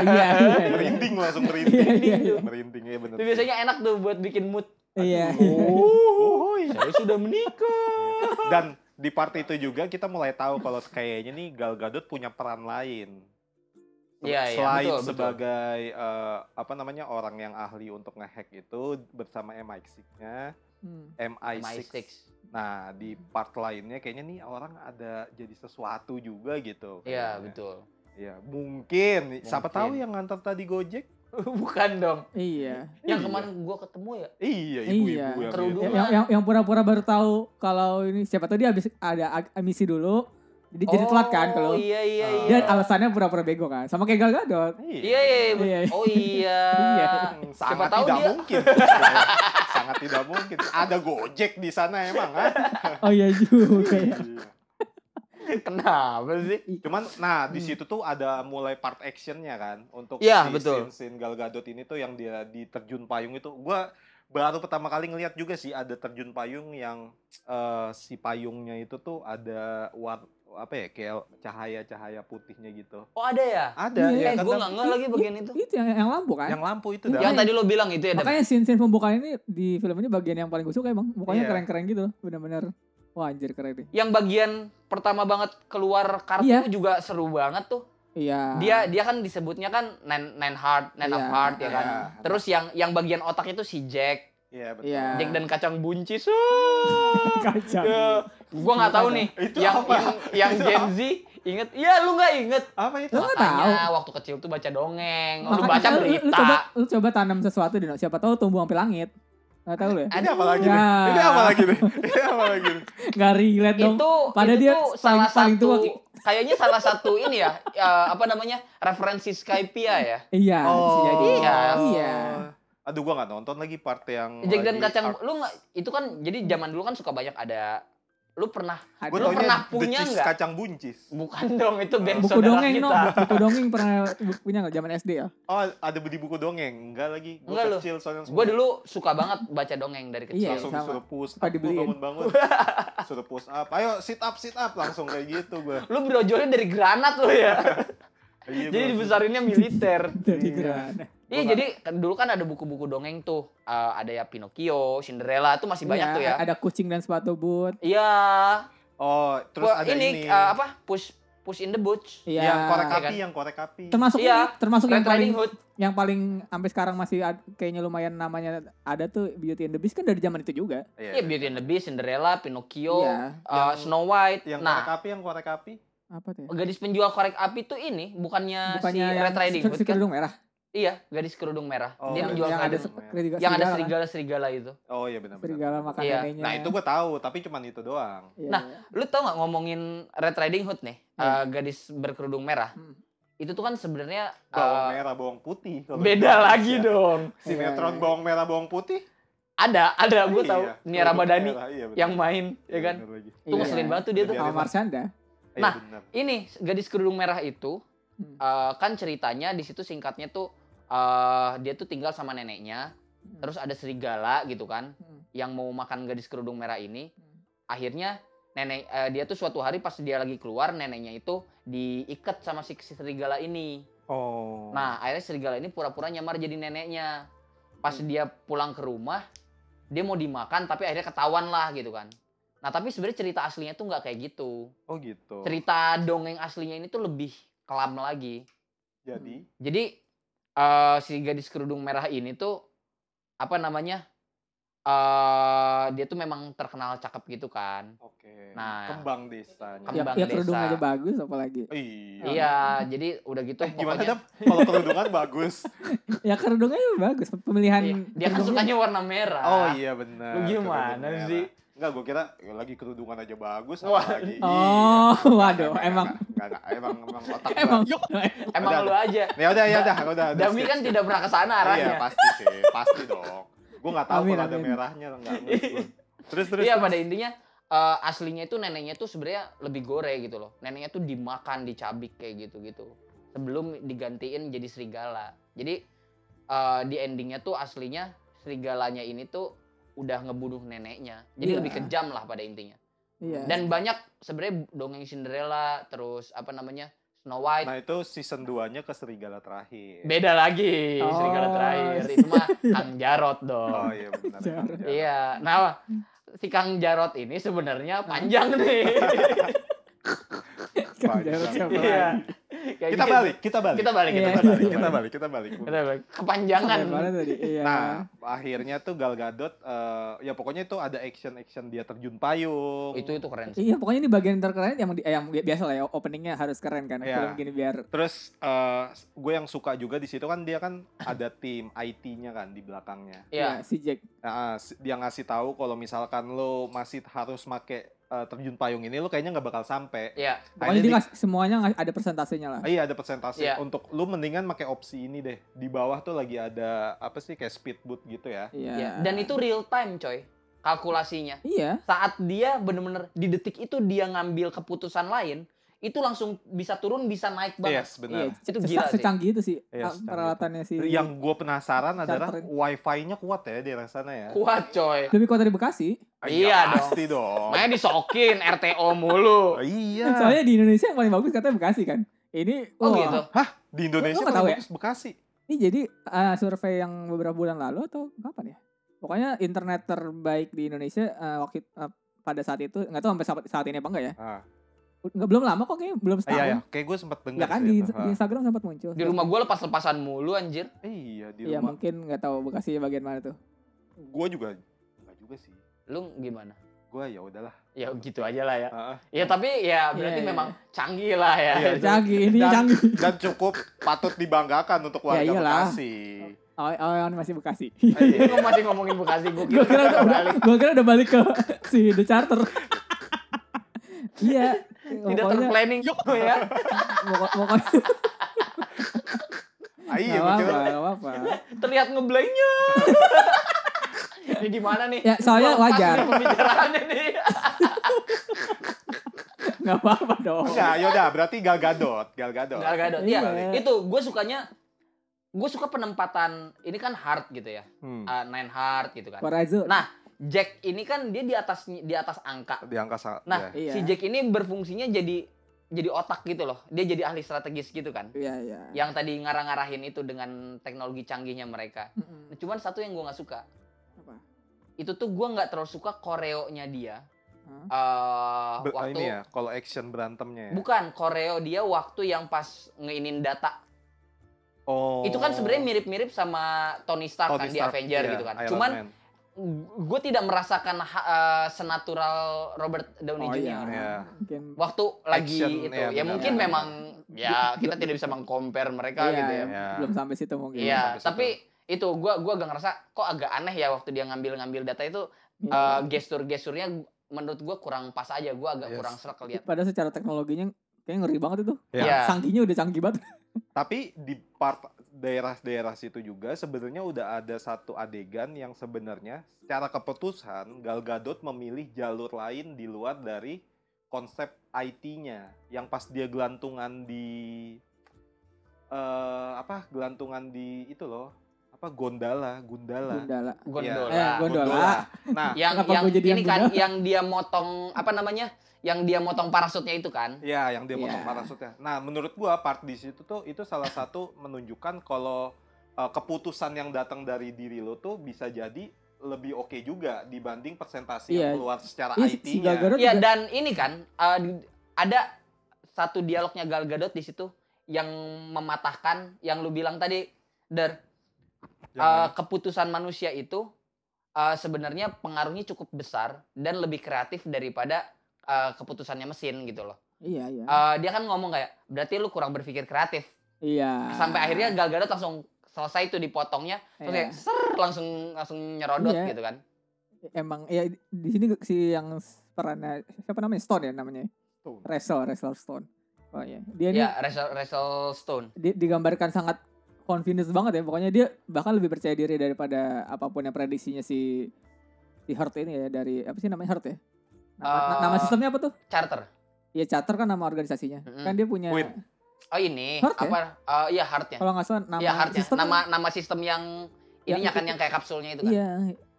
D: iya, iya, iya.
C: merinding langsung
D: Iya,
C: merinding.
D: iya, iya.
C: merinding ya benar.
B: itu biasanya enak tuh buat bikin mood.
D: Iya.
B: Oh, saya sudah menikah.
C: Dan di part itu juga kita mulai tahu kalau kayaknya nih Gal Gadot punya peran lain.
B: Iya, iya,
C: Selain
B: betul, betul.
C: sebagai eh, apa namanya orang yang ahli untuk ngehack itu bersama MI6-nya,
D: Hmm.
C: MI6.
B: MI6.
C: Nah, di part lainnya kayaknya nih orang ada jadi sesuatu juga gitu.
B: Iya,
C: kayaknya.
B: betul.
C: Iya, mungkin. Siapa
B: Mungkin.
C: tahu yang ngantar tadi Gojek?
B: Bukan dong.
D: Iya.
B: Yang
C: Iya.
B: kemarin gua ketemu ya.
C: Iya, ibu-ibu
D: Iya.
C: yang
B: Kerudung.
C: itu.
D: Ya,
B: Cuma-
D: yang yang yang pura-pura baru tahu kalau ini siapa tadi habis ada ag- misi dulu jadi jadi telat kan
B: Oh,
D: kalau
B: Iya, iya,
C: Ah.
B: iya.
D: dan alasannya pura-pura bego kan sama kayak Gal Gadot
B: Iya, iya, iya.
D: Iya.
B: Oh iya.
D: Iya.
C: Hmm,
B: Siapa
C: sangat
B: tahu
C: tidak
B: dia
C: mungkin. sangat tidak mungkin. Ada Gojek di sana emang kan?
D: oh iya juga ya.
B: kenapa sih?
C: Cuman nah di situ tuh ada mulai part actionnya kan untuk
B: Iya,
C: si
B: betul.
C: scene, scene Gal Gadot ini tuh yang dia di terjun payung itu gua baru pertama kali ngelihat juga sih ada terjun payung yang eh, si payungnya itu tuh ada war apa ya kayak cahaya-cahaya putihnya gitu.
B: Oh ada ya?
C: Ada
B: eh,
D: Iya,
C: ya
B: gue nggak
C: karena
B: ngeh lagi bagian itu.
D: itu yang yang lampu kan
C: yang lampu itu
D: Iya.
B: Yang
C: dah.
B: tadi lo bilang itu ya, Dam?
D: makanya scene scene pembukaan ini di film ini bagian yang paling gue suka emang
C: Iya.
D: mukanya keren-keren gitu loh benar-benar wah anjir keren deh
B: Yang bagian pertama banget keluar kartu
D: Iya.
B: itu juga seru banget tuh.
D: iya
B: Dia dia kan disebutnya kan nine nine heart, nine of
D: Iya.
B: heart ya kan.
C: Iya.
B: Terus yang yang bagian otak itu si Jack,
C: Iya, betul.
D: Iya.
B: Jack dan kacang buncis.
D: kacang
C: Iya.
B: Ya, gua nggak tahu nih
C: Itu
B: yang,
C: apa?
B: yang yang
C: Itu
B: Gen Z inget ya lu nggak inget
C: Apa itu?
D: Lu nggak
B: Makanya waktu kecil tuh baca dongeng lu
D: Makanya
B: baca
D: lu- lu, lu
B: berita
D: coba lu coba tanam sesuatu di siapa tahu tumbuh sampai langit nggak tahu lu ya
C: Ini
B: Aduh.
C: apa lagi nih?
D: Ya.
C: Ini apa lagi nih? Ini apa lagi nih?
D: nggak relate dong
B: itu
D: Padahal
B: itu
D: dia
B: tuh
D: paling-
B: salah
D: paling
B: satu
D: tua, Ki.
B: kayaknya salah satu ini ya, ya, apa namanya referensi Skype ya
D: iya bisa jadi
B: iya.
D: iya
C: Aduh gua nggak nonton lagi part yang
B: Jack dan
C: lagi
B: kacang
C: art.
B: lu nggak itu kan jadi zaman dulu kan suka banyak ada lu pernah
D: Ada.
C: Gua
B: Lu
C: taunya
B: pernah
C: The
B: punya
C: Cheese
B: nggak?
C: Kacang buncis.
B: bukan dong itu
C: Iya.
B: band
D: buku
B: saudara
D: dongeng no
B: kita
D: buku dongeng pernah bu- punya nggak zaman SD ya
C: Oh, ada di buku dongeng. Enggak lagi. Gua
B: Enggak lu.
C: kecil soalnya
B: gue dulu suka banget baca dongeng dari kecil
D: Iya,
C: langsung
D: sama.
C: disuruh push up,
D: Apa
C: gua
D: dibeliin?
C: bangun-bangun. suruh push up. Ayo sit up, sit up langsung kayak gitu gua.
B: lu brojolnya dari granat lu ya
C: Iya,
B: jadi
C: gua-
B: dibesarinnya militer
D: dari
C: Iya.
D: Gerhana.
B: Iya
C: Gua
B: jadi kan dulu kan ada buku-buku dongeng tuh Eh, ada ya Pinocchio, Cinderella tuh masih banyak
D: Iya,
B: tuh ya.
D: Ada kucing dan sepatu boot.
B: Iya.
C: Oh, terus
B: Wah,
C: ada
B: ini,
C: ini,
B: eh, apa? Push Push in the Boots.
D: Iya.
C: yang korek
B: Iya
C: api,
B: kan?
C: yang korek api.
D: Termasuk
B: Iya,
D: ini, termasuk yang
B: Red
D: paling
B: Riding Hood.
D: yang paling sampai sekarang masih ad- kayaknya lumayan namanya ada tuh Beauty and the Beast kan dari zaman itu juga.
C: Iya.
B: Iya Beauty and the Beast, Cinderella, Pinocchio,
D: Iya.
B: eh,
C: Yang-
B: Snow White.
C: Yang korek
B: nah,
C: api, yang korek api.
D: Apa tuh? Ya?
B: gadis penjual korek api tuh ini bukannya,
D: Bukannya
B: Nah, si
D: yang
B: Red Riding
D: si-
B: Hood
D: si
B: kan?
D: kerudung merah.
B: Iya, gadis kerudung merah.
C: Oh,
B: Dia
C: yang-
B: menjual yang
D: yang ada
B: ada,
C: kerudung
D: se-
C: merah.
D: serigala
B: yang ada
D: kan?
B: serigala-serigala itu.
C: Oh iya benar-benar.
D: serigala makan ya.
B: Iya.
D: neneknya.
C: Nah, itu gua tahu, tapi cuman itu doang.
D: Iya,
B: Nah,
D: iya.
B: Lu tau nggak ngomongin Red Riding Hood nih, eh,
C: Hmm.
D: Iya.
B: gadis berkerudung merah.
D: Hmm.
B: Itu tuh kan sebenarnya
C: Bawang
B: eh,
C: merah, Iya. bawang putih. kalau
B: beda
C: di
B: lagi
C: Indonesia.
B: dong.
C: Sinetron
D: Iya, iya.
C: bawang merah, bawang putih.
B: Ada, ada gue
C: Iya,
B: tahu. Nia
C: bawang
B: Ramadhani
C: merah, iya, benar.
B: yang main, ya
C: Iya,
B: kan?
C: benar lagi.
B: Tuh
D: Iya.
B: ngeselin banget tuh dia tuh.
C: Iya.
D: Sama Marshanda.
C: Iya,
B: Nah,
C: benar.
B: Ini gadis kerudung merah itu
D: Hmm.
B: eh, kan ceritanya di situ singkatnya tuh eh dia tuh tinggal sama neneknya,
C: Hmm.
B: terus ada serigala gitu kan
D: Hmm.
B: yang mau makan gadis kerudung merah ini.
D: Hmm.
B: Akhirnya nenek eh, dia tuh suatu hari pas dia lagi keluar neneknya itu diikat sama si si serigala ini.
C: Oh.
B: Nah, akhirnya serigala ini pura-pura nyamar jadi neneknya. pas
C: Hmm.
B: dia pulang ke rumah dia mau dimakan tapi akhirnya ketahuan lah gitu kan nah tapi sebenarnya cerita aslinya tuh nggak kayak gitu
C: Oh gitu.
B: cerita dongeng aslinya ini tuh lebih kelam lagi
C: Jadi
D: Hmm.
B: jadi eh, si gadis kerudung merah ini tuh apa namanya eh dia tuh memang terkenal cakep gitu kan
C: oke.
B: Nah.
C: Kembang desanya.
D: ya,
B: Kembang
D: ya kerudung
B: desa.
D: aja bagus apalagi
C: Iya.
B: iya jadi udah gitu
C: Eh, gimana
B: pokoknya
C: dap? Kalau kerudungan bagus.
D: ya kerudungnya bagus pemilihan
B: iya, dia kan
D: kerudungnya.
B: sukanya warna merah
C: Oh iya benar.
B: Lu gimana
C: kerudung merah.
B: sih?
C: Enggak, gue kira ya, lagi kerudungan aja bagus
B: Wah.
C: apalagi.
D: oh
B: Iya.
D: waduh
C: Enggak,
D: emang
C: enggak, enggak, emang emang otak gua.
D: emang
B: emang
C: Udah,
B: lu aja
C: Ya udah ya udah udah. udah,
B: Dami
C: skip,
B: kan
C: skip.
B: tidak pernah ke sana
C: Iya,
B: arahnya
C: pasti sih. Pasti dong. Gue nggak tahu
D: Amin,
C: kalau ada
D: amin.
C: merahnya enggak. menurut gua. Terus terus.
B: Iya
C: terus.
B: pada intinya eh, aslinya itu neneknya tuh sebenarnya lebih gore gitu loh. Neneknya tuh dimakan, dicabik kayak gitu-gitu. Sebelum digantiin jadi serigala. Jadi eh, di endingnya tuh aslinya serigalanya ini tuh udah ngebunuh neneknya. Jadi
D: Iya.
B: lebih kejam lah pada intinya.
D: iya
B: Dan banyak sebenarnya dongeng Cinderella, terus apa namanya Snow White.
C: Nah, itu season 2-nya ke serigala terakhir.
B: Beda lagi
D: Oh.
B: serigala terakhir. Itu mah Kang Jarot dong.
C: Oh iya benar.
D: Jarang.
C: benar.
B: Iya, nah si Kang Jarot ini sebenarnya panjang nih.
D: Kan
C: Wah,
D: Jarod
C: bisa.
D: siapa
B: Iya.
D: lagi?
B: Kayak
C: Kita
B: gitu.
C: balik, kita balik.
B: Kita balik,
D: Iya.
B: kita
C: kita
B: balik.
C: balik, kita balik, kita balik.
B: Kita balik.
D: Sampai
B: Kepanjangan.
D: mana tadi iya
C: Nah, akhirnya tuh Gal Gadot eh, ya pokoknya itu ada action-action dia terjun payung.
B: Itu itu keren sih.
D: Iya pokoknya ini bagian terkeren yang di, eh, yang bi- biasa lah ya openingnya harus keren kan
C: Iya.
D: film gini biar
C: Terus eh gue yang suka juga di situ kan dia kan ada tim IT-nya kan di belakangnya.
B: Iya.
D: ya, si Jack
C: Nah, eh, si- dia ngasih tahu kalau misalkan lo masih harus make eh, terjun payung ini lo kayaknya nggak bakal sampai.
B: Iya.
D: pokoknya dia
C: Akhirnya di-
D: ngas- semuanya ngas- ada persentasenya lah
C: Ah, Iya ada persentase
B: Iya.
C: untuk lu mendingan pakai opsi ini deh. Di bawah tuh lagi ada apa sih kayak speedboat gitu ya.
D: iya
B: Iya. Dan itu real time, coy. Kalkulasinya.
D: iya
B: Saat dia bener-bener di detik itu dia ngambil keputusan lain, itu langsung bisa turun, bisa naik banget.
C: Yes, benar.
D: Iya,
B: Itu
D: se-
B: gila sih.
D: secanggih itu sih
C: Iya,
D: ah,
C: secanggih
D: peralatannya sih.
C: Yang gue penasaran adalah
D: Charterin.
C: wifi-nya kuat ya di daerah sana ya.
B: Kuat, coy.
D: lebih kuat dari Bekasi.
C: Ah,
B: Iya dong.
C: pasti dong.
B: Makanya disokin RTO mulu.
C: Ah, Iya.
D: Kan Soalnya di Indonesia yang paling bagus katanya Bekasi kan. Ini
B: Oh
D: wah,
B: gitu.
C: Di Indonesia
D: Lu nggak
C: paling
D: tahu ya?
C: bagus Bekasi.
D: Ini jadi ah, survei yang beberapa bulan lalu atau kapan ya? Pokoknya internet terbaik di Indonesia ah, waktu ah, pada saat itu nggak tahu sampai saat, saat ini apa enggak ya?
C: Ah,
D: Nggak belum lama kok kayaknya belum
C: iya,
D: setahun.
C: iya. Kayak gue sempat dengar
D: Ya kan
C: sih
D: di,
C: itu.
D: di
C: Ah.
D: Instagram sempat muncul.
B: Di rumah gue lepas-lepasan mulu anjir.
C: Iya, di
D: Iya
C: rumah.
D: mungkin nggak tahu Bekasi bagian mana tuh.
C: Gue juga enggak juga sih.
B: Lu gimana?
C: Gue ya udahlah.
B: Ya gitu aja lah ya.
C: Ah, ah.
B: Ya tapi ya berarti
D: Iya, iya.
B: memang canggih lah ya.
C: Iya,
B: Itu.
D: Canggih ini
C: Dan-
D: canggih.
C: Dan cukup patut dibanggakan untuk warga
D: Ya iyalah.
C: Bekasi.
D: Oh, oh, masih Bekasi.
C: Ah, iya.
B: Lu masih ngomongin Bekasi gue
D: gue kira udah, udah
B: balik.
D: gue kira udah balik ke si The Charter iya
B: Tidak
D: pokoknya,
B: terplanning ya.
D: pokok- pokoknya
C: Ah, iya,
D: nggak
C: gua
D: apa-apa
C: kira-
D: nggak apa-apa
B: terlihat ngeblanknya. Ini di mana nih?
D: Ya, soalnya
B: Lepas
D: wajar.
B: nih Pembicaraannya nih.
D: nggak apa-apa dong
C: Enggak, yaudah Iya, ya berarti Gal Gadot, Gal Gadot.
B: Gal Gadot. Iya,
D: Iya.
B: itu gue sukanya gue suka penempatan ini kan hard gitu ya.
C: Hmm,
B: Ah, nine hard gitu kan.
D: Corazon
B: Nah, Jack ini kan dia di atas di atas angka.
C: di angka sa- ya.
B: Nah,
D: Iya.
B: si Jack ini berfungsinya jadi jadi otak gitu loh. Dia jadi ahli strategis gitu kan.
D: iya iya
B: Yang tadi ngarang-ngarahin itu dengan teknologi canggihnya mereka.
D: Mm-mm.
B: Cuman satu yang gue nggak suka.
D: Apa?
B: Itu tuh gue nggak terlalu suka koreonya dia.
D: Hah?
B: Eh,
C: Ber-
B: waktu
C: ini ya, kalau action berantemnya ya.
B: bukan koreo dia waktu yang pas ngeinin data
C: Oh.
B: itu kan sebenarnya mirip-mirip sama Tony Stark
C: Tony
B: kan di
C: Stark,
B: Avenger
C: iya,
B: gitu kan
C: Iron
B: cuman
C: Man.
B: gue tidak merasakan ha- eh, senatural Robert Downey
D: oh
B: Jr.
D: iya
C: Iya.
D: mungkin
B: waktu lagi
C: Action,
B: itu
C: iya,
B: ya
C: benar.
B: mungkin
D: Iya.
B: memang ya kita tidak bisa mengcompare mereka
D: iya,
B: gitu ya
C: Iya.
D: belum sampai situ mungkin
B: iya
C: sampai situ.
B: tapi itu gue gua agak ngerasa kok agak aneh ya waktu dia ngambil-ngambil data itu eh,
D: Iya.
B: gestur-gesturnya menurut gue kurang pas aja gue agak
C: Yes.
B: kurang serak lihat
D: padahal secara teknologinya kayak ngeri banget itu
C: Iya.
B: Iya.
D: canggihnya udah canggih banget
C: Tapi di part daerah-daerah situ juga sebenarnya udah ada satu adegan yang sebenarnya secara keputusan Gal Gadot memilih jalur lain di luar dari konsep IT-nya yang pas dia gelantungan di eh apa gelantungan di itu loh apa gondala gundala
D: Gundala
B: gondola
D: Eh, gondola
C: nah
B: yang
D: Kenapa
B: yang
D: gua jadi
B: ini
D: yang
B: kan yang dia motong apa namanya yang dia motong parasutnya itu kan
C: ya yang dia potong
D: Iya.
C: parasutnya nah menurut gua part di situ tuh itu salah satu menunjukkan kalau eh, keputusan yang datang dari diri lo tuh bisa jadi lebih oke juga dibanding persentase
D: Iya.
C: yang keluar secara
D: Iya, si- si
C: IT-nya.
D: Gal Gadot
B: Iya
D: juga-
B: dan ini kan uh, di- ada satu dialognya Gal Gadot di situ yang mematahkan yang lu bilang tadi der uh,
C: Jangan.
B: keputusan manusia itu uh, sebenarnya pengaruhnya cukup besar dan lebih kreatif daripada uh, keputusannya mesin gitu loh.
D: iya iya
B: Uh, dia kan ngomong kayak berarti lu kurang berpikir kreatif
D: iya
B: sampai akhirnya Gal Gadot langsung selesai itu dipotongnya terus
D: Iya.
B: kayak ser langsung langsung nyerodot
D: Iya.
B: gitu kan.
D: emang ya di sini si yang perannya siapa namanya Stone ya namanya
C: Stone.
D: Wrestle Wrestle Stone oh iya dia ini
B: Ya Russell, Russell Stone.
D: di- digambarkan sangat confidence banget ya pokoknya dia bahkan lebih percaya diri daripada apapun yang prediksinya si si Hurt ini ya dari apa sih namanya Hurt ya nama,
B: Eh,
D: nama sistemnya apa tuh
B: Charter.
D: ya charter kan nama organisasinya
B: Mm-mm.
D: kan dia punya
C: Wait.
B: Oh ini
D: Heart ya?
B: apa? Eh, iya heartnya.
D: kalau nggak salah nama
B: Iya heartnya.
D: sistem
B: Nama nama sistem yang
D: Ya,
B: ininya kan
D: itu-
B: yang kayak kapsulnya itu kan. ya.
D: iya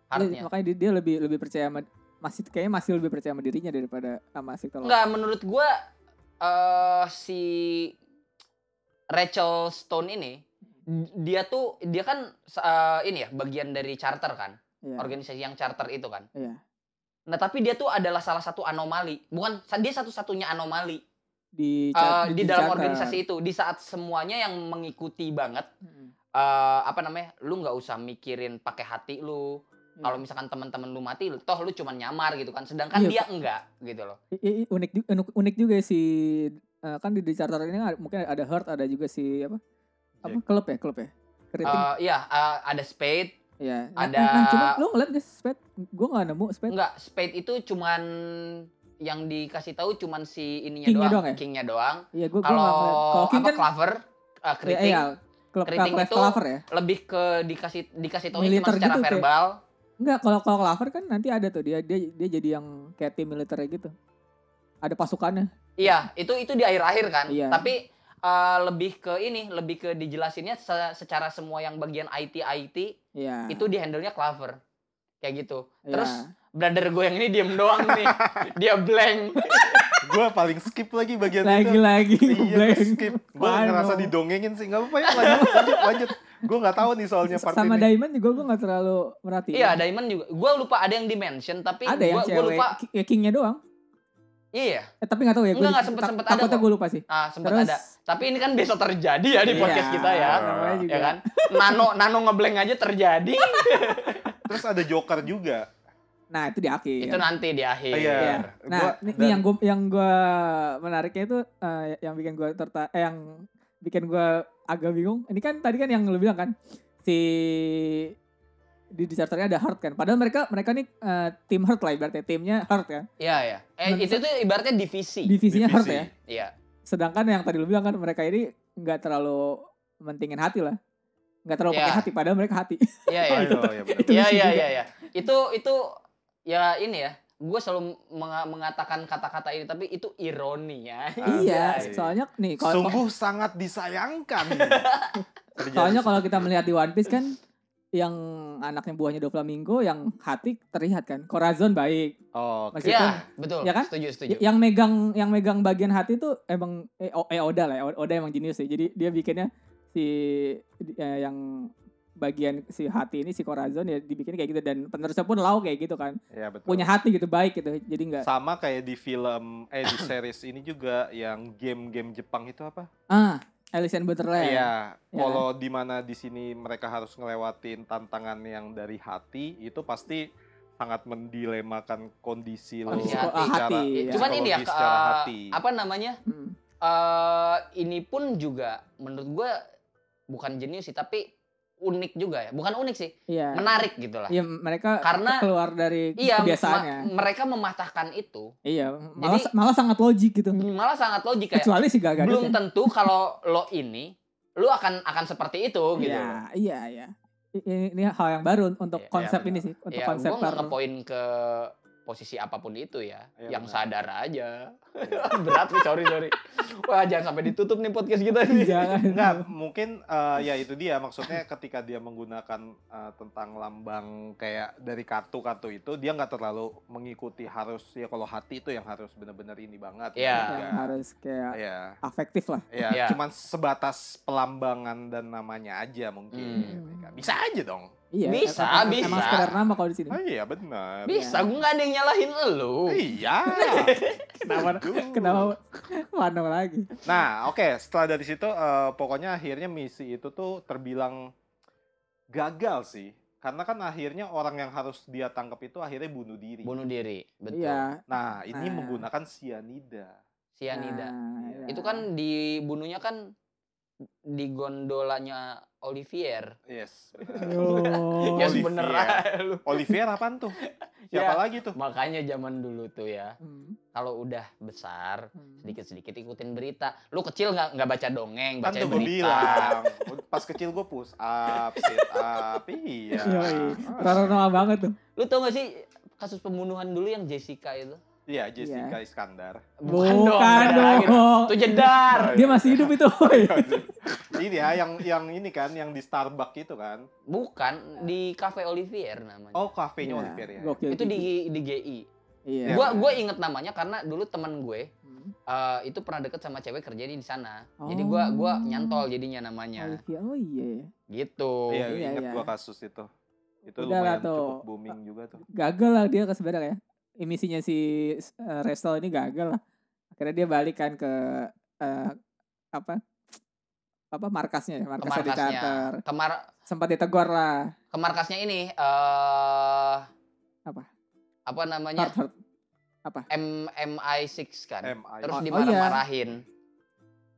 B: Heartnya.
D: Iya, makanya dia, dia lebih lebih percaya sama masih kayaknya masih lebih percaya sama dirinya daripada sama si kalau
B: Enggak menurut gua eh si Rachel Stone ini dia tuh dia kan eh, ini ya bagian dari charter kan
D: Iya.
B: organisasi yang charter itu kan.
D: Iya.
B: Nah tapi dia tuh adalah salah satu anomali bukan dia satu-satunya anomali eh,
D: di, chat-
B: di dalam
D: charter.
B: organisasi itu di saat semuanya yang mengikuti banget
D: Mm-mm.
B: eh apa namanya lu nggak usah mikirin pakai hati lu
D: Iya.
B: kalau misalkan teman-teman lu mati lu- toh lu cuman nyamar gitu kan sedangkan
D: Iya.
B: dia enggak gitu loh
D: I- i- i- unik juga unik juga si eh, kan di, di charter ini ada- mungkin ada Hurt ada juga si apa apa klub ya klub ya keriting
B: Eh iya eh, ada spade
D: ya
B: ada-
D: cuma lu ngeliat gak sped gue nggak nemu sped
B: enggak spade itu cuman yang dikasih tahu cuman si ininya
D: Kingnya
B: doang,
D: doang ya?
B: kingnya doang
D: iya gue gue
B: kalau
D: nggak ngeliat kalau
B: apa
D: King kan
B: clover eh,
D: ya,
B: keriting
D: iya, klub
B: keriting
D: klub
B: itu-
D: Clover ya
B: lebih ke dikasih dikasih tahu
D: Militer
B: cuma secara
D: gitu, kayak-
B: verbal
D: Enggak, kalau kalau Clover kan nanti ada tuh dia dia dia jadi yang kayak tim militer gitu. Ada pasukannya.
B: Iya, itu itu di akhir-akhir kan.
D: Iya.
B: Tapi eh, lebih ke ini, lebih ke dijelasinnya se- secara semua yang bagian IT IT
D: Iya.
B: itu di handle-nya Clover. Kayak gitu.
D: Iya.
B: Terus brother gue yang ini diem doang nih. Dia blank.
C: Gue paling skip lagi bagian itu.
D: lagi-lagi
C: Iya, gua
D: blank.
C: skip. Gue
D: Pano.
C: ngerasa didongengin sih. Gak apa-apa ya, lanjut, lanjut, lanjut. Gue gak tahu nih soalnya part
D: Sama
C: ini.
D: Diamond juga gue gak terlalu merhatiin.
B: iya, Diamond juga. Gue lupa ada yang di-mention tapi
D: ada yang
B: gue
D: cewek,
B: lupa.
D: Ki- ya Kingnya doang.
B: Iya,
D: Eh, tapi gak tahu ya. gua
B: Enggak,
D: di-
B: nggak sempet-sempet
D: tak-
B: ada
D: Takutnya
B: kok.
D: gue lupa sih.
B: ah sempat
D: Terus-
B: ada. Tapi ini kan besok terjadi ya di podcast
D: Iya,
B: kita ya.
D: namanya juga.
B: Ya kan? Nano nano ngeblank aja terjadi.
C: Terus ada Joker juga.
D: Nah itu di akhir.
B: itu nanti di akhir.
C: Iya.
D: Iya. Nah,
C: Gua-
D: ini, ini
C: dan-
D: yang gue yang gua menariknya itu eh, yang bikin gue terta eh, yang bikin gue agak bingung. Ini kan tadi kan yang lu bilang kan si di disertanya ada hard kan. Padahal mereka mereka nih eh, tim hard lah ibaratnya timnya hard kan.
B: Iya, iya. Eh,
D: Dan-
B: itu tuh ibaratnya divisi.
D: Divisinya hard
C: divisi.
D: ya.
B: Iya.
D: Sedangkan yang tadi lu bilang kan mereka ini nggak terlalu mentingin hati lah. Nggak terlalu pakai
B: Iya.
D: hati padahal mereka hati.
B: Iya, iya.
C: Oh, iya, iya, benar.
D: Itu
B: Iya
D: lucu
B: iya
D: juga.
B: iya iya. Itu itu ya ini ya. Gue selalu menga- mengatakan kata-kata ini tapi itu ironi ya.
D: iya,
C: Anjay.
D: soalnya nih kalau
C: Sungguh sangat disayangkan. Terjadi.
D: Soalnya kalau kita melihat di One Piece kan yang anaknya buahnya Doflamingo yang hati terlihat kan. Corazon baik.
C: Oh,
D: Masih-
B: Iya, betul.
D: Ya kan?
B: Setuju, setuju.
D: Y- Yang megang yang megang bagian hati tuh emang eh, O- eh, Oda lah. ya. O- Oda emang jenius sih. Jadi dia bikinnya si eh, yang bagian si hati ini si Corazon ya dibikin kayak gitu dan penerusnya pun Lau kayak gitu kan.
C: ya, betul.
D: Punya hati gitu baik gitu. Jadi enggak
C: sama kayak di film eh di series ini juga yang game-game Jepang itu apa?
D: ah Alice in Borderland.
C: Iya,
D: Ya.
C: kalau di mana di sini mereka harus ngelewatin tantangan yang dari hati itu pasti sangat mendilemakan kondisi lo
B: Kondisi
C: secara
B: hati.
D: Hati,
B: Ya,
D: iya.
B: Cuman ini ya
C: psikologi secara
B: eh,
C: hati.
B: apa namanya?
D: Mm.
B: Eh ini pun juga menurut gue bukan jenius sih tapi unik juga ya. Bukan unik sih,
D: Iya.
B: menarik gitu lah.
D: Iya, mereka
B: Karena-
D: keluar dari
B: Iya,
D: kebiasaannya.
B: ma- mereka mematahkan itu
D: iya, malah
B: Jadi-
D: malah sangat logik gitu.
B: malah sangat logik kayak
D: Kecuali si Gaga
B: belum tentu kalau lo ini lo akan akan seperti itu gitu.
D: Iya, iya, iya. I- Ini, ini hal yang baru untuk
B: Iya,
D: konsep
C: iya,
D: ini sih, untuk
B: ya,
D: konsep
B: gue
D: baru.
B: ngepoin ke posisi apapun itu ya,
C: Iya,
B: yang
C: benar. Iya.
B: sadar aja. Berat nih, sorry sorry. Wah jangan sampai ditutup nih podcast kita nih.
D: Jangan.
C: Enggak, mungkin eh, ya itu dia maksudnya ketika dia menggunakan eh, tentang lambang kayak dari kartu-kartu itu dia nggak terlalu mengikuti harus ya kalau hati itu yang harus benar-benar ini banget.
B: Iya.
D: Yang harus kayak
C: Iya.
D: afektif lah.
C: Ya,
B: Ya.
C: cuman sebatas pelambangan dan namanya aja mungkin.
B: Hmm.
C: Mereka Bisa aja dong.
D: Iya.
B: Bisa,
D: emang- Emang
B: bisa.
D: sekedar nama kalau di sini.
C: Ah, iya benar.
B: Bisa, gue nggak ada yang nyalahin elu.
C: Iya.
D: Kenapa?
C: Aduh.
D: Kenapa Wano lagi?
C: Nah, oke, setelah dari situ eh, pokoknya akhirnya misi itu tuh terbilang gagal sih. Karena kan akhirnya orang yang harus dia tangkap itu akhirnya bunuh diri.
B: Bunuh diri, betul.
D: Iya.
C: Nah, ini
D: Nah.
C: menggunakan sianida.
B: Sianida.
D: Nah,
C: Iya.
D: iya.
B: Itu kan dibunuhnya kan di gondolanya Olivier.
C: Yes. benar.
D: Aduh.
B: ya
C: Olivier.
B: sebenernya lu.
C: Olivier apaan tuh?
B: Ya.
C: Siapa lagi tuh?
B: Makanya zaman dulu tuh ya,
D: Hmm,
B: kalau udah besar
D: hmm.
B: sedikit-sedikit ikutin berita. Lu kecil nggak nggak baca dongeng,
C: Kan
B: baca
C: tuh gue
B: berita.
C: bilang, pas kecil gue push up, sit up, iya.
D: Yoi.
C: Ah,
D: Paranormal banget tuh.
B: Lu tau gak sih kasus pembunuhan dulu yang Jessica itu?
C: Iya, Jessica Iskandar.
D: Bukan
B: beda lagi
D: dong.
B: gitu. Itu jedar.
D: Dia masih hidup itu. woy.
B: Iya,
C: ini ya, yang yang ini kan, yang di Starbucks itu kan.
B: Bukan di Cafe Olivier namanya.
C: Oh, kafenya
D: Iya,
C: Olivier ya.
D: Gokil.
B: itu di di GI.
D: Iya.
C: Ya.
B: Gua gua inget namanya karena dulu teman gue
D: Hmm.
B: eh, itu pernah deket sama cewek kerja di sana. Jadi gua gua
D: Oh.
B: nyantol jadinya namanya.
D: Olivia, Oh iya. ya.
B: Gitu.
C: Iya,
D: Iya,
C: ingat
D: iya.
C: gua kasus itu. Itu
D: Udah
C: lumayan
D: lah tuh.
C: cukup booming juga tuh.
D: Gagal lah dia sebenarnya ya. Emisinya si eh, Restel ini gagal lah. Akhirnya dia balik kan ke eh, apa? apa markasnya
B: Ke
D: ya, markasnya di
B: markasnya.
D: charter.
B: Ke, mar-
D: Sempat ditegur lah.
B: ke markasnya ini eh
D: Apa?
B: Apa namanya?
D: Hard, hard.
B: MMI6 kan.
C: MI.
B: Terus
C: Oh,
B: dimarah-marahin.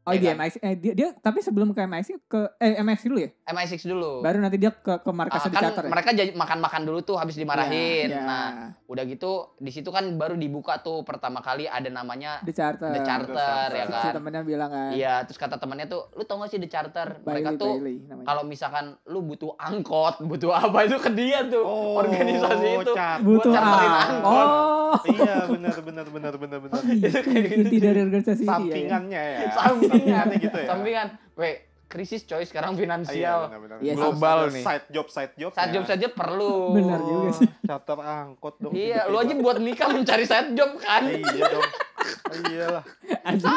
D: Oh
B: Ya
D: iya,
B: kan?
D: MX eh, dia, dia tapi sebelum ke MX ke eh MX dulu ya.
B: MI6 dulu.
D: Baru nanti dia ke ke
B: Ah,
D: markasnya di
B: kan
D: charter. ya?
B: mereka jadi makan-makan dulu tuh habis dimarahin.
D: Iya,
B: Nah,
D: iya.
B: udah gitu di situ kan baru dibuka tuh pertama kali ada namanya
D: di charter.
B: The Charter ya
D: Si
B: kan.
D: temennya bilang kan.
B: Iya, terus kata temannya tuh, "Lu tau gak sih The Charter? Mereka
D: Bailey,
B: tuh
D: Bailey namanya.
B: kalau misalkan lu butuh angkot, butuh apa itu ke dia tuh
C: Oh,
B: organisasi itu.
C: cat.
B: buat
D: butuh
B: charterin
D: ah.
B: angkot.
D: Oh.
C: Iya, benar benar benar benar benar.
D: Itu Oh, inti dari organisasi ini ya, ya.
C: gitu. Sampingannya ya.
B: Sampingan
C: Sampingannya gitu ya.
B: Sampingan. Weh, krisis coy sekarang
C: Ah, Iya,
B: finansial.
C: benar, benar.
D: Iya,
C: Terus
B: global
C: ada
B: nih.
C: Side job side job.
B: Side job saja perlu.
D: Bener juga sih.
C: Charter Oh, angkot dong.
B: Iya, lu aja
C: tiba-tiba.
B: buat nikah mencari side job kan.
C: Iya dong. Iyalah.
D: Anjing.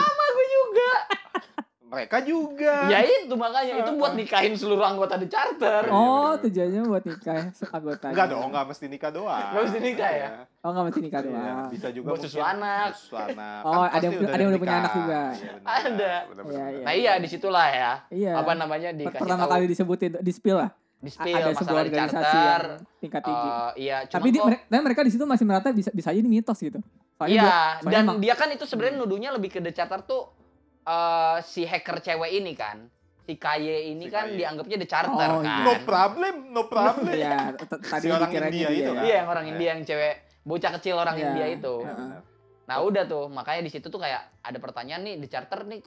C: Mereka juga.
B: ya itu makanya itu buat nikahin seluruh anggota The Charter.
D: Oh, tujuannya buat nikah anggota.
C: Enggak dong, enggak mesti nikah doang.
B: Nggak mesti nikah ya?
D: Oh, enggak mesti nikah
C: Iya,
D: doang.
C: bisa juga
B: Buat
C: mungkin
B: susu anak.
C: Susu anak. Kan
D: Oh, ada yang- ada yang udah punya anak juga.
B: Ada.
D: Iya,
B: Nah iya disitulah ya.
D: Iya.
B: Apa namanya dikasih
D: Pertama
B: tahu
D: kali disebutin di spill lah.
B: di
D: A-
B: spill
D: ada sebuah
B: masalah The
D: organisasi
B: Charter.
D: yang tingkat tinggi.
B: Eh, iya, cuma
D: Tapi di,
B: kok-
D: mereka, tapi mereka di situ masih merata bisa bisa aja ini mitos gitu. Soalnya
B: Iya,
D: gua- soalnya
B: dan
D: emang-
B: dia kan itu sebenarnya nuduhnya lebih ke The Charter tuh eh, si hacker cewek ini kan. Si Kaye ini
C: Si
B: kan
C: Kaye.
B: dianggapnya The Charter
D: Oh,
B: kan.
D: iya.
C: No problem, no problem.
D: Iya, t-
C: Si
D: tadi
C: orang
D: dikiranya
C: India
D: dia
C: itu
D: ya.
C: kan?
B: Iya, yang orang
C: Iya.
B: India yang cewek bocah kecil orang
D: Iya.
B: India itu.
D: Iya.
C: benar.
B: Nah, udah tuh, makanya di situ tuh kayak ada pertanyaan nih The Charter nih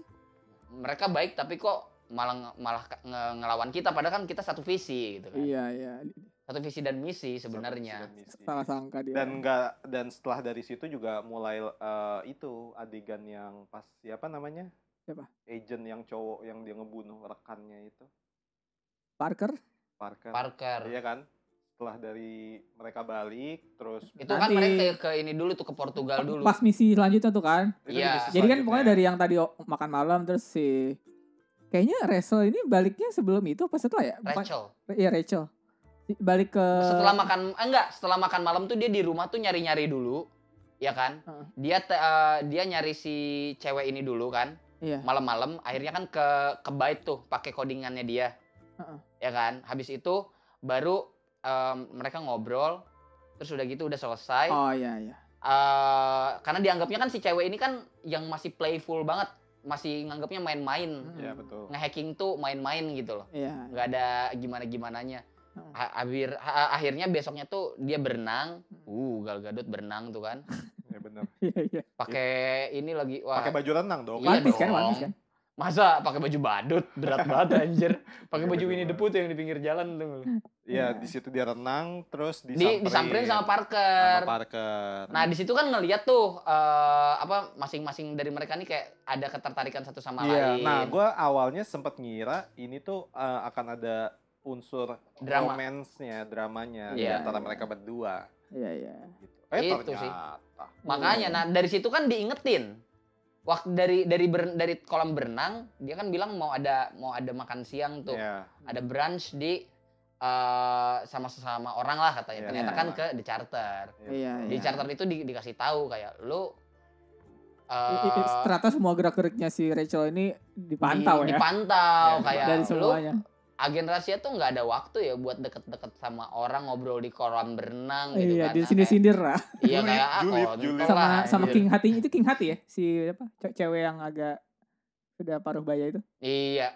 B: mereka baik tapi kok malah malah ke- nge- ngelawan kita padahal kan kita satu visi gitu kan.
D: Iya, iya.
B: Satu visi dan misi sebenarnya.
D: Salah sangka dia.
C: dan enggak dan setelah dari situ juga mulai eh, itu adegan yang pas siapa namanya
D: Siapa?
C: agent yang cowok yang dia ngebunuh rekannya itu
D: Parker
C: Parker,
B: Parker.
C: iya kan setelah dari mereka balik terus
B: Itu kan
D: Nanti-
B: mereka ke, ke ini dulu tuh ke Portugal dulu.
D: pas misi selanjutnya tuh kan.
C: itu
B: Iya.
C: misi
D: Jadi kan
C: selanjutnya.
D: pokoknya dari yang tadi o- makan malam terus si kayaknya Rachel ini baliknya sebelum itu apa setelah ya? Bukan-
B: Rachel.
D: Iya Rachel. Di- Balik ke
B: Setelah makan eh, enggak, setelah makan malam tuh dia di rumah tuh nyari-nyari dulu. Ya kan?
D: Heeh.
B: Dia te- eh, dia nyari si cewek ini dulu kan.
D: Iya.
B: Malam-malam akhirnya kan ke ke Byte tuh pakai codingannya dia.
D: Heeh.
B: Ya kan? Habis itu baru em, mereka ngobrol terus udah gitu udah selesai.
D: Oh iya iya.
B: Eh, karena dianggapnya kan si cewek ini kan yang masih playful banget, masih nganggapnya main-main.
C: iya betul
D: Hmm.
B: Ngehacking tuh main-main gitu loh.
D: Iya.
B: nggak ada gimana gimananya
D: Heeh.
B: akhir ha- akhirnya besoknya tuh dia berenang
D: Hmm.
B: uh gal gadot berenang tuh kan
C: ya benar
D: Iya iya.
B: pakai ini lagi wah
C: pakai baju renang dong
B: Iya
D: One Piece kan,
B: dong.
D: One Piece kan.
B: Masa pakai baju badut, berat banget anjir. Pakai
C: Pakai
B: baju
C: baju
B: Winnie the
C: badut.
B: Pooh tuh yang di pinggir jalan tuh.
C: Iya,
D: Iya.
C: di situ dia renang terus
B: Di
C: disamperin,
B: disamperin sama
C: sama
B: Parker.
C: Parker.
B: Nah, di situ kan ngeliat tuh eh, apa masing-masing dari mereka nih kayak ada ketertarikan satu sama lain.
C: Iya, nah gue awalnya sempat ngira ini tuh eh, akan ada unsur
B: Drama.
C: romance-nya, dramanya di
B: Iya.
C: antara mereka berdua.
D: Iya iya.
C: Gitu. Eh
B: Itu sih.
C: ternyata.
B: Makanya nah dari situ kan diingetin. Waktu dari dari ber- dari kolam berenang, dia kan bilang mau ada mau ada makan siang tuh.
C: Iya.
B: Ada brunch di eh, sama sesama orang lah katanya.
C: Iya,
B: Ternyata
D: sama.
B: kan ke The Charter.
D: Iya,
B: Di
D: iya.
B: Charter itu di- dikasih tahu kayak lu
D: I- i-
B: eh,
D: Iya, Ternyata semua gerak-geriknya si Rachel ini dipantau
B: di-
D: ya.
B: Dipantau
C: Iya,
B: kayak
D: dari
B: lu
D: semuanya.
B: agen rahasia tuh nggak ada waktu ya buat deket-deket sama orang ngobrol di kolam berenang gitu
D: iya,
B: kan.
D: di
B: Nah,
D: sini
B: kayak-
D: sindir lah.
B: Iya
C: Julid,
B: kayak ah,
C: julid,
B: kontol
C: julid.
B: lah,
D: Sama sama
C: Iya.
B: anjir.
D: King Hati itu King Hati ya, si apa? ce- Cewek yang agak sudah paruh baya itu.
B: Iya.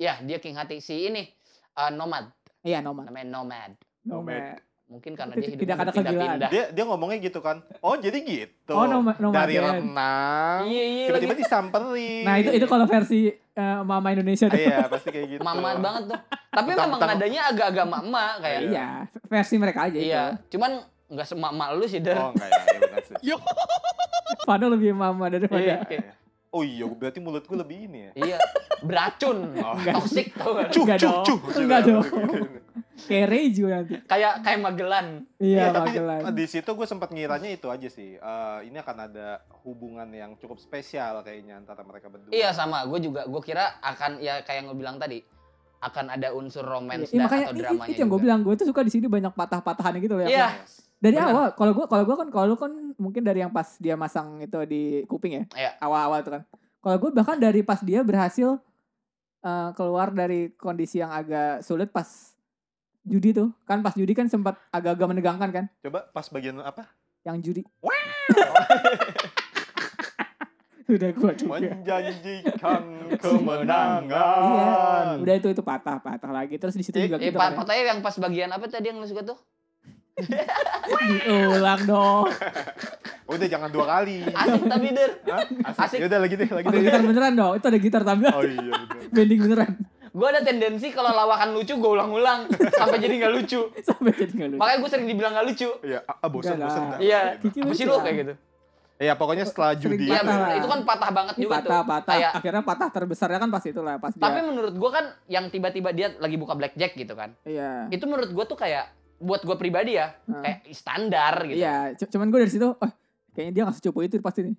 B: Ya, dia King Hati si ini eh, nomad,
D: Iya, Noma.
B: namanya nomad.
C: Nomad.
B: Mungkin karena dia
D: Tidak-
B: hidup
D: tidak ada kegilaan.
B: pindah-pindah.
C: Dia dia ngomongnya gitu kan. Oh, jadi gitu.
D: Oh, Noma Noma.
C: Dari renang
B: Iya, iya lagi
C: tiba-tiba disamperin.
D: Nah, itu itu kalau versi eh, Mama Indonesia tuh.
C: Iya, pasti kayak gitu.
B: mama banget tuh. Tapi
C: Tentang-
B: memang
C: tentang-
B: nadanya agak-agak mama kayak.
C: Iya.
D: Iya, gitu. versi mereka aja
B: Iya,
D: itu.
B: cuman nggak semak-mak lu sih, Der.
C: Oh, enggak ya, ya benar sih.
D: Fano lebih mama daripada
B: Iya.
C: Oh iya, berarti mulut gue lebih ini ya.
B: Iya, beracun,
C: Oh.
B: toksik tuh.
C: Cuh,
D: Enggak
C: cuh,
D: dong.
C: cuh. gitu.
D: Enggak dong. kayak Reju nanti.
B: Kayak kayak Magelan.
D: Iya,
C: tapi Nah,
D: Magelan.
C: di situ gue sempat ngiranya itu aja sih. Eh, ini akan ada hubungan yang cukup spesial kayaknya antara mereka berdua.
D: gitu.
B: Iya sama, gue juga. Gue kira akan ya kayak yang gue bilang tadi akan ada unsur romance
D: Iya,
B: dan
D: makanya
B: atau
D: itu-
B: dramanya.
D: itu yang gue
B: juga.
D: bilang gue tuh suka di sini banyak patah-patahan gitu loh.
B: Iya.
C: Yes.
D: Dari
B: Benar.
D: awal, kalau gue kalau gue kan kalau lu kan mungkin dari yang pas dia masang itu di kuping ya.
B: Iya.
D: Awal-awal itu kan. Kalau gue bahkan dari pas dia berhasil eh, keluar dari kondisi yang agak sulit pas judi tuh. Kan pas judi kan sempat agak-agak menegangkan kan
C: Coba pas bagian apa?
D: yang judi. Sudah gue juga.
C: Menjanjikan
D: Iya,
C: kemenangan.
D: udah itu itu patah-patah lagi. Terus di situ
C: Eh,
D: juga
B: Eh,
D: gitu
B: Pak,
D: kan ya.
B: Pak Tayo yang pas bagian apa tadi yang lu suka tuh?
D: Diulang dong.
B: Gitu,
D: Iya.
C: Udah jangan dua kali.
B: Asik tapi der.
C: Hah?
B: Asik.
C: Asik. Yaudah lagi deh, lagi
D: Pakai
C: deh.
B: gitu.
D: gitar beneran dong. Itu ada gitar tambahan.
C: Oh iya betul.
D: Bending beneran.
B: Gue ada tendensi kalau lawakan lucu gue ulang-ulang sampai jadi nggak lucu.
D: Sampai jadi nggak lucu.
B: Makanya gue sering dibilang nggak lucu.
C: Iya, ah, ah, bosen,
D: Enggak
C: bosen.
D: lah.
C: dah.
B: Iya.
C: Gitu.
D: Kiki
B: Apa sih
D: lucu
B: lu
D: lah.
B: kayak gitu?
C: Iya, pokoknya setelah
D: Sering
C: judi.
B: Iya,
D: patah lah.
B: itu kan patah banget
D: Ini
B: juga
D: patah,
B: tuh.
D: patah.
B: Kayak-
D: Akhirnya patah terbesarnya kan pas itulah pas
B: Tapi
D: dia.
B: menurut gue kan yang tiba-tiba dia lagi buka blackjack gitu kan.
D: Iya.
B: Itu menurut gue tuh kayak buat gue pribadi ya
D: Nah,
B: kayak standar gitu.
D: Iya, cu- cuman gue dari situ, oh, kayaknya dia nggak secupu itu pasti nih.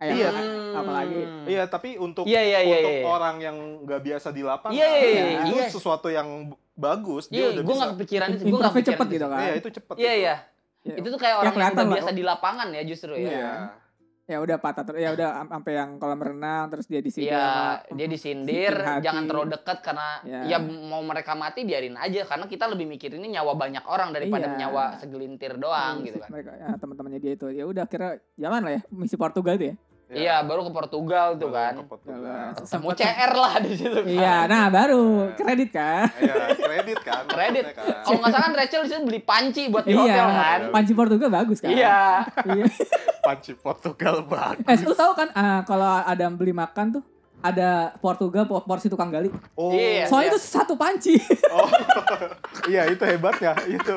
D: Kayak,
C: Iya.
D: a- apalagi
C: Iya, tapi untuk
B: Hmm. Iya iya iya.
C: untuk
B: iya.
C: orang yang nggak biasa di lapangan,
B: Iya, iya,
D: iya,
C: itu
B: iya.
C: sesuatu yang b- bagus.
B: Iya,
C: Dia udah
B: gue
C: bisa.
B: nggak kepikiran itu. Gue nggak
D: improve
B: kepikiran
D: cepet
B: itu.
D: gitu kan.
C: Iya, itu cepet.
B: Iya
C: itu.
B: iya.
D: Ya,
B: Itu tuh kayak orang yang
D: kelihatan
B: udah
D: lah.
B: biasa di lapangan ya justru ya.
D: Iya.
C: Nah,
D: Ya udah patah ter- ya udah am- sampai yang kolam renang terus dia di ah, sini.
B: Iya,
D: sama-
B: dia disindir,
D: bikin hati.
B: jangan terlalu dekat karena
D: Iya.
B: ya mau mereka mati biarin aja karena kita lebih mikir ini nyawa banyak orang daripada
D: Iya.
B: nyawa segelintir doang gitu kan.
D: Mereka ya, teman-temannya dia itu. Ya udah kira jalan lah ya misi Portugal tuh ya.
B: Iya, baru ke Portugal tuh kan.
C: Baru ke Portugal.
D: Jalan.
B: Temu
D: Sempet-
B: CR lah di situ. kan.
D: Iya, nah baru kredit kan.
C: Iya, kredit kan.
B: Kredit.
C: maksudnya kan.
B: Kalau nggak salah kan Rachel di situ beli panci buat di hotel kan.
D: Iya, panci Portugal bagus kan.
B: Iya.
D: Iya.
C: Panci Portugal bang.
D: Eh, lu tahu kan eh, kalau ada beli makan tuh ada Portugal por- porsi tukang gali.
C: Oh,
B: Iya.
D: Soalnya itu satu panci.
C: oh. iya itu hebatnya itu.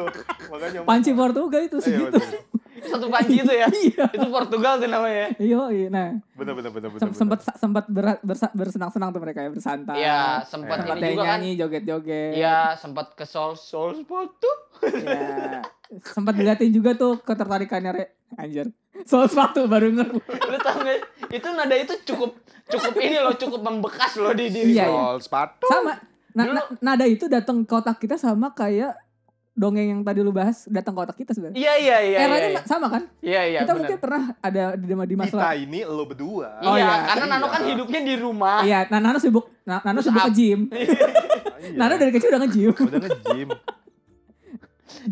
C: Makanya
D: panci Portugal itu
C: Iya,
D: segitu.
C: betul.
B: Satu panci itu ya.
D: Iya.
B: Itu Portugal tuh namanya.
D: Iya, iya. Nah,
C: Bener bener bener bener.
D: sem- sempat sempat ber- bersa- bersenang-senang tuh mereka ya, bersantai.
B: Iya, sempat
D: Tempat
B: ini
D: dia
B: juga kan.
D: nyanyi joget-joget.
B: Iya, sempat ke Sol Sol Spot tuh.
D: Iya. Sempat diliatin juga tuh ketertarikannya Re. Anjir. Soal sepatu baru ngeru.
B: Lu tau nggak? Itu nada itu cukup cukup ini loh, cukup membekas loh di diri.
D: Iya, iya.
C: Sol sepatu.
D: Sama. Na-
B: Dulu-
D: na- nada itu datang ke otak kita sama kayak dongeng yang tadi lu bahas datang ke otak kita sebenarnya.
B: Iya iya iya. iya,
D: Eranya
B: iya.
D: ma- sama kan?
B: Iya iya.
D: kita
B: benar.
D: mungkin pernah ada di Dema Dimas
C: Kita
D: lah.
C: ini lo berdua.
D: Oh,
B: iya,
D: iya.
B: karena Nano kan
C: Iya.
B: hidupnya di rumah.
D: Iya, nah Nano sibuk nah, Nano
B: Terus
D: sibuk
B: up.
D: ke gym.
C: Iya.
D: Nano Nah, dari kecil udah nge-gym.
C: udah nge-gym.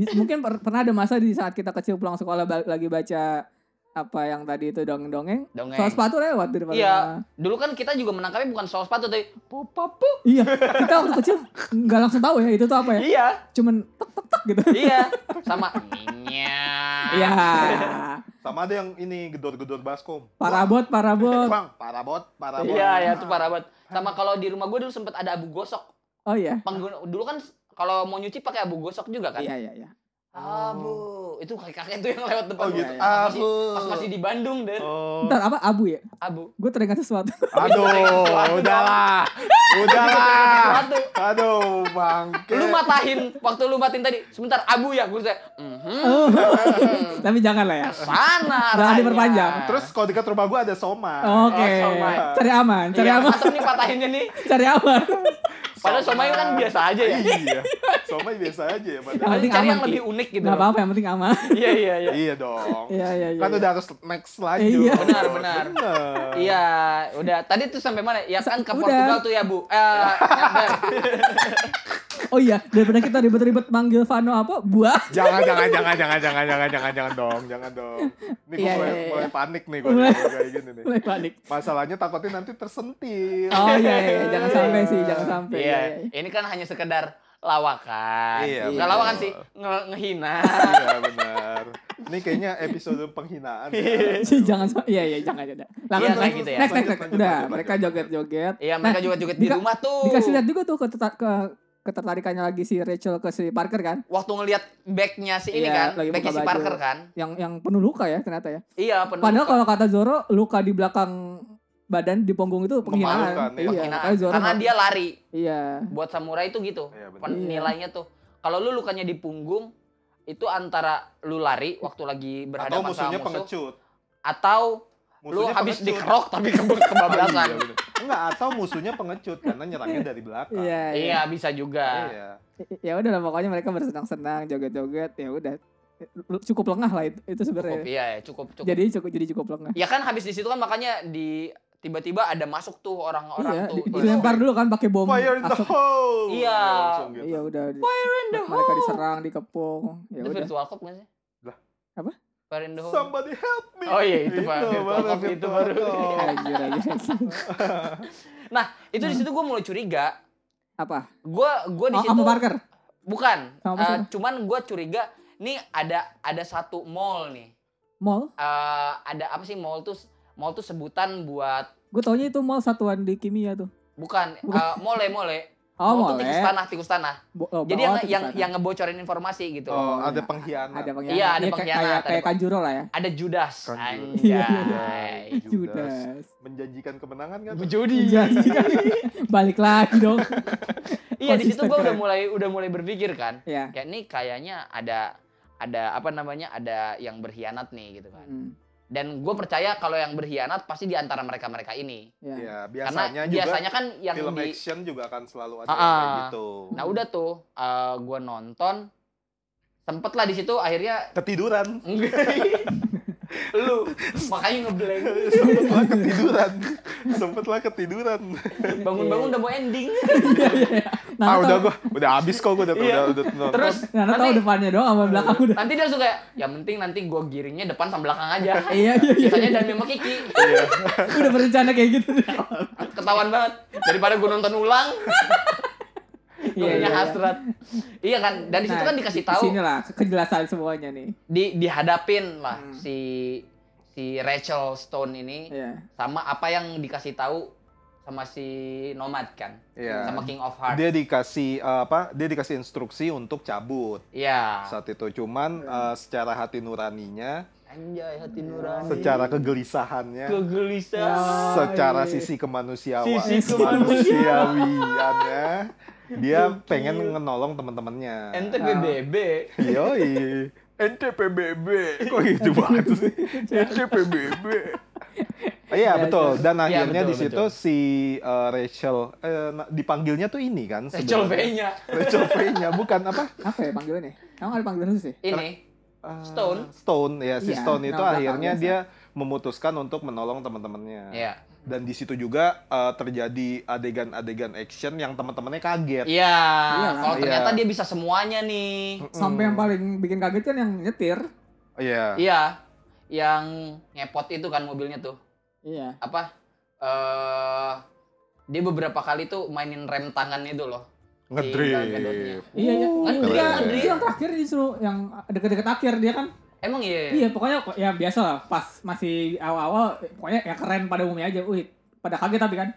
D: Di- mungkin per- pernah ada masa di saat kita kecil pulang sekolah bal- lagi baca apa yang tadi itu dongeng-dongeng.
B: Dongeng.
D: Soal sepatu lewat di depan.
B: Iya.
D: rumah.
B: Dulu kan kita juga menangkapnya bukan soal sepatu tapi popapu.
D: Iya, kita waktu kecil nggak langsung tahu ya itu tuh apa ya.
B: Iya,
D: Cuman tek tek tek gitu.
B: iya. Sama nying,
D: Iya.
C: Sama ada yang ini gedor-gedor baskom. Wah,
D: Parabot, parabot.
C: Bang, parabot, parabot.
B: Iya, ya itu parah banget. Sama kalau di rumah gue dulu sempet ada abu gosok.
D: Oh iya.
B: Pengguna, dulu kan s- kalau mau nyuci pakai abu gosok juga kan?
D: Iya, iya, iya.
B: Abu. Itu kakek-kakek itu yang lewat depan
C: Oh
B: gue.
C: gitu.
D: Iya, iya.
B: Pas
C: Abu.
B: masih, pas masih di Bandung, Den.
C: Oh.
D: Bentar, apa abu ya?
B: Abu.
D: Gue teringat sesuatu.
C: Aduh, udahlah. Udahlah.
B: Satu.
C: Aduh, bangke.
B: Lu matahin waktu lu matiin tadi. Sebentar, abu ya. Gue saya, mhm.
D: Oh. Tapi jangan lah ya.
B: Sana.
D: Jangan
B: arahnya.
D: diperpanjang.
C: Terus kalau dekat rumah gua ada soma.
D: Oke.
B: Oh, somai.
D: Cari aman, cari
B: Iya, Gitu
D: aman,
B: mantep nih patahinnya nih.
D: cari aman.
B: Padahal somai kan biasa aja ya.
C: Iya. Soma biasa aja ya padahal.
D: Yang penting
B: Cari
D: aman,
B: yang
D: Ki.
B: lebih unik gitu.
D: Gak
B: loh.
D: apa-apa, yang penting aman.
B: Iya, iya, iya.
C: Iya dong.
D: Iya, iya, iya.
C: Kan udah harus next lanjut.
D: Iya.
B: Benar, benar.
C: Benar.
B: Iya, udah. Tadi tuh sampai mana? Ya kan ke
D: Udah.
B: Portugal tuh ya, Bu. Eh, nyampe.
D: Oh iya, daripada kita ribet-ribet manggil Vano apa, buah.
C: Jangan, jangan, jangan, jangan, jangan, jangan, jangan, jangan dong, jangan dong. Ini gue
D: Iya,
C: mulai,
D: iya, iya.
C: mulai panik nih gue
D: Mulai-
C: kayak gini nih.
D: Mulai panik.
C: Masalahnya takutnya nanti tersentil.
D: Oh iya, iya, iya, jangan sampai sih, jangan sampai. ya.
B: Iya. Ini kan hanya sekedar lawakan.
C: Iya,
B: Bukan
C: betul.
B: lawakan sih, nge- ngehina.
C: Iya benar. Ini kayaknya episode penghinaan. ya.
D: Sih, jangan sampai. Iya, iya, jangan aja. Lanjut,
B: Iya, kayak gitu ya.
D: Next,
C: Lanjut,
D: next, next.
C: lanjut,
D: Udah,
C: lanjut,
D: mereka
C: lanjut.
D: joget-joget.
B: Iya, mereka
D: Nah,
B: juga joget di
D: dika-
B: rumah tuh.
D: Dikasih lihat juga tuh ketertar- ke ketertarikannya lagi si Rachel ke si Parker kan
B: Waktu ngelihat backnya si ini
D: Iya,
B: kan,
D: lagi
B: backnya si
D: buka baju.
B: Parker kan.
D: yang yang penuh luka ya ternyata ya
B: Iya, penuh.
D: padahal kalau kata Zoro luka di belakang badan di punggung itu penghinaan
C: Memalukan, ya.
D: iya
B: Penghinaan.
D: makanya Zoro
B: karena
D: nggak-
B: dia lari.
D: iya
B: Buat samurai itu gitu.
C: Iya, benar.
B: Pen-
D: Iya.
B: Nilainya tuh. Kalau lu lukanya di punggung, itu antara lu lari waktu lagi
C: Atau
B: berhadapan sama
C: musuhnya
B: musuh
C: pengecut.
B: atau lu
C: Musuhnya
B: habis
C: pengecut.
B: dikerok tapi ke
C: Iya,
B: kebablasan.
C: benar. Enggak, atau musuhnya pengecut karena nyerangnya dari belakang.
D: iya iya
B: Iya bisa juga.
C: Iya.
D: ya udah lah pokoknya mereka bersenang-senang joget-joget ya udah Lu- cukup lengah lah itu, itu
B: Cukup
D: sebenarnya
B: iya ya, cukup cukup.
D: jadi cukup jadi cukup lengah
B: Ya kan habis di situ kan makanya di tiba-tiba ada masuk tuh
D: iya
B: orang-orang tuh.
D: di-
B: Iya.
D: dilempar dulu kan pakai bom
C: Fire in the
D: asap.
C: hole.
B: Iya.
C: Langsung gitu.
D: iya udah di-
B: in the
D: mereka diserang dikepung ya
B: Itu
D: udah
B: virtual cop nggak sih?
C: Lah.
D: Apa?
B: Fire in the home.
C: Somebody help me.
B: Oh iya, itu, Pak. Virtual
C: baru Oh,
B: cop, itu
C: virtual
B: baru.
C: cop.
D: Anjir, anjir, anjir.
B: Itu di situ gue mulai curiga.
D: apa
B: Gue gue di
D: oh,
B: situ
D: sama Parker
B: bukan.
D: Sama
B: Eh,
D: siapa?
B: cuman gue curiga nih ada ada satu mall nih.
D: mall
B: Eh, ada apa sih mall tuh? Mall tuh sebutan buat
D: gue taunya itu mall satuan di kimia tuh
B: bukan
D: Bukan.
B: eh, mole mole.
D: oh
B: mall
D: mall
B: tuh tikus tanah, tikus tanah. Jadi yang yang yang ngebocorin informasi gitu.
C: Oh,
D: Oh,
C: ada
D: iya.
C: pengkhianat.
D: ada pengkhianat
B: Iya, ada
D: kayak-
B: pengkhianat,
D: kayak
B: ada
D: kayak
B: peng-
D: kanjuro lah ya
B: Ada Judas.
C: Kan
D: Iya.
B: Anjay.
D: Judas
C: Menjanjikan kemenangan kan?
B: Judi.
D: Jadi, balik lagi dong
B: Iya di situ
D: Konsisten
B: gue udah
D: keren.
B: mulai udah mulai berpikir kan.
D: ya
B: Kayak nih kayaknya ada ada apa namanya ada yang berkhianat nih gitu kan.
D: Hmm,
B: Dan gue percaya kalau yang berkhianat pasti di antara mereka mereka ini.
D: ya.
C: Iya,
B: Karena
C: biasanya juga
B: biasanya kan yang
C: film
B: di.
C: action juga akan selalu ada
B: Ah,
C: yang kayak
B: ah.
C: gitu.
B: Nah udah tuh eh, gue nonton. Sempet lah di situ akhirnya.
C: Ketiduran.
B: lu makanya ngeblank
C: Sempetlah ketiduran. Sempetlah ketiduran.
B: bangun-bangun udah mau ending
D: Iya, iya, iya.
C: ah,
D: Nana
C: udah
D: tahu-
C: gua udah habis kok gua udah
B: Iya.
C: udah udah nonton.
B: terus
D: Nana tahu
B: nanti-
D: depannya doang sama belakang udah
B: Nanti dia langsung kayak, yang penting nanti gue giringnya depan sama belakang aja.
D: iya iya iya
B: Sisanya dan sama Kiki.
C: Iya.
D: udah berencana kayak gitu
B: Iya, Ketahuan banget. Daripada gue nonton ulang,
D: iya
B: punya hasrat. Iya kan, dan di situ
D: Nah,
B: kan dikasih
D: di-
B: tahu,
D: di sini lah ke- kejelasan semuanya nih
B: di, dihadapin lah
D: Hmm.
B: si si Rachel Stone ini
D: iya
B: sama apa yang dikasih tahu sama si Nomad kan,
C: Iya.
B: sama King of Heart.
C: Dia dikasih eh, apa? Dia dikasih instruksi untuk cabut
B: Iya.
C: saat itu. Cuman
B: Nah.
C: eh, secara hati nuraninya,
B: Anjay hati nurani.
C: secara kegelisahannya,
B: Kegelisahan.
D: Ah,
C: secara
D: iya.
C: sisi kemanusiaan
B: Sisi
C: kemanusiawiannya dia pengen ngenolong teman-temannya
B: Ente BBB.
C: yoi NTPBB kok gitu banget sih NTPBB Iya
D: Ya,
C: betul dan
B: Iya,
C: akhirnya
B: betul,
C: di situ si eh, Rachel eh, na- dipanggilnya tuh ini kan
B: Rachel
C: sebenarnya.
B: V-nya.
C: Rachel V-nya bukan apa
D: apa ya panggilannya emang ada panggilan khusus ya
B: Ini.
C: Eh,
B: Stone.
C: Stone ya si
D: Iya,
C: Stone itu
D: nama belakang
C: akhirnya
D: biasa.
C: dia memutuskan untuk menolong teman-temannya
B: Iya.
C: dan di situ juga eh, terjadi adegan-adegan action yang teman-temannya kaget.
B: Iya,
D: Iya lah.
B: kalau
C: Iya.
B: ternyata dia bisa semuanya nih.
C: Mm-mm.
D: sampai yang paling bikin kaget kan yang nyetir
C: Iya.
B: Iya, yang ngepot itu kan mobilnya tuh.
D: iya
B: Apa? Eh dia beberapa kali tuh mainin rem tangan itu loh.
C: Ngedrift.
B: Gal Gadotnya.
D: Iya, iya.
C: Uh,
B: Kan
D: Iya,
B: dia
D: iya,
B: Andri.
D: yang terakhir disuruh yang deket-deket akhir dia kan.
B: Emang iya.
D: Iya, pokoknya kok- ya biasa lah. Pas masih awal-awal, pokoknya ya keren pada umumnya aja. Wih, pada kaget tapi kan.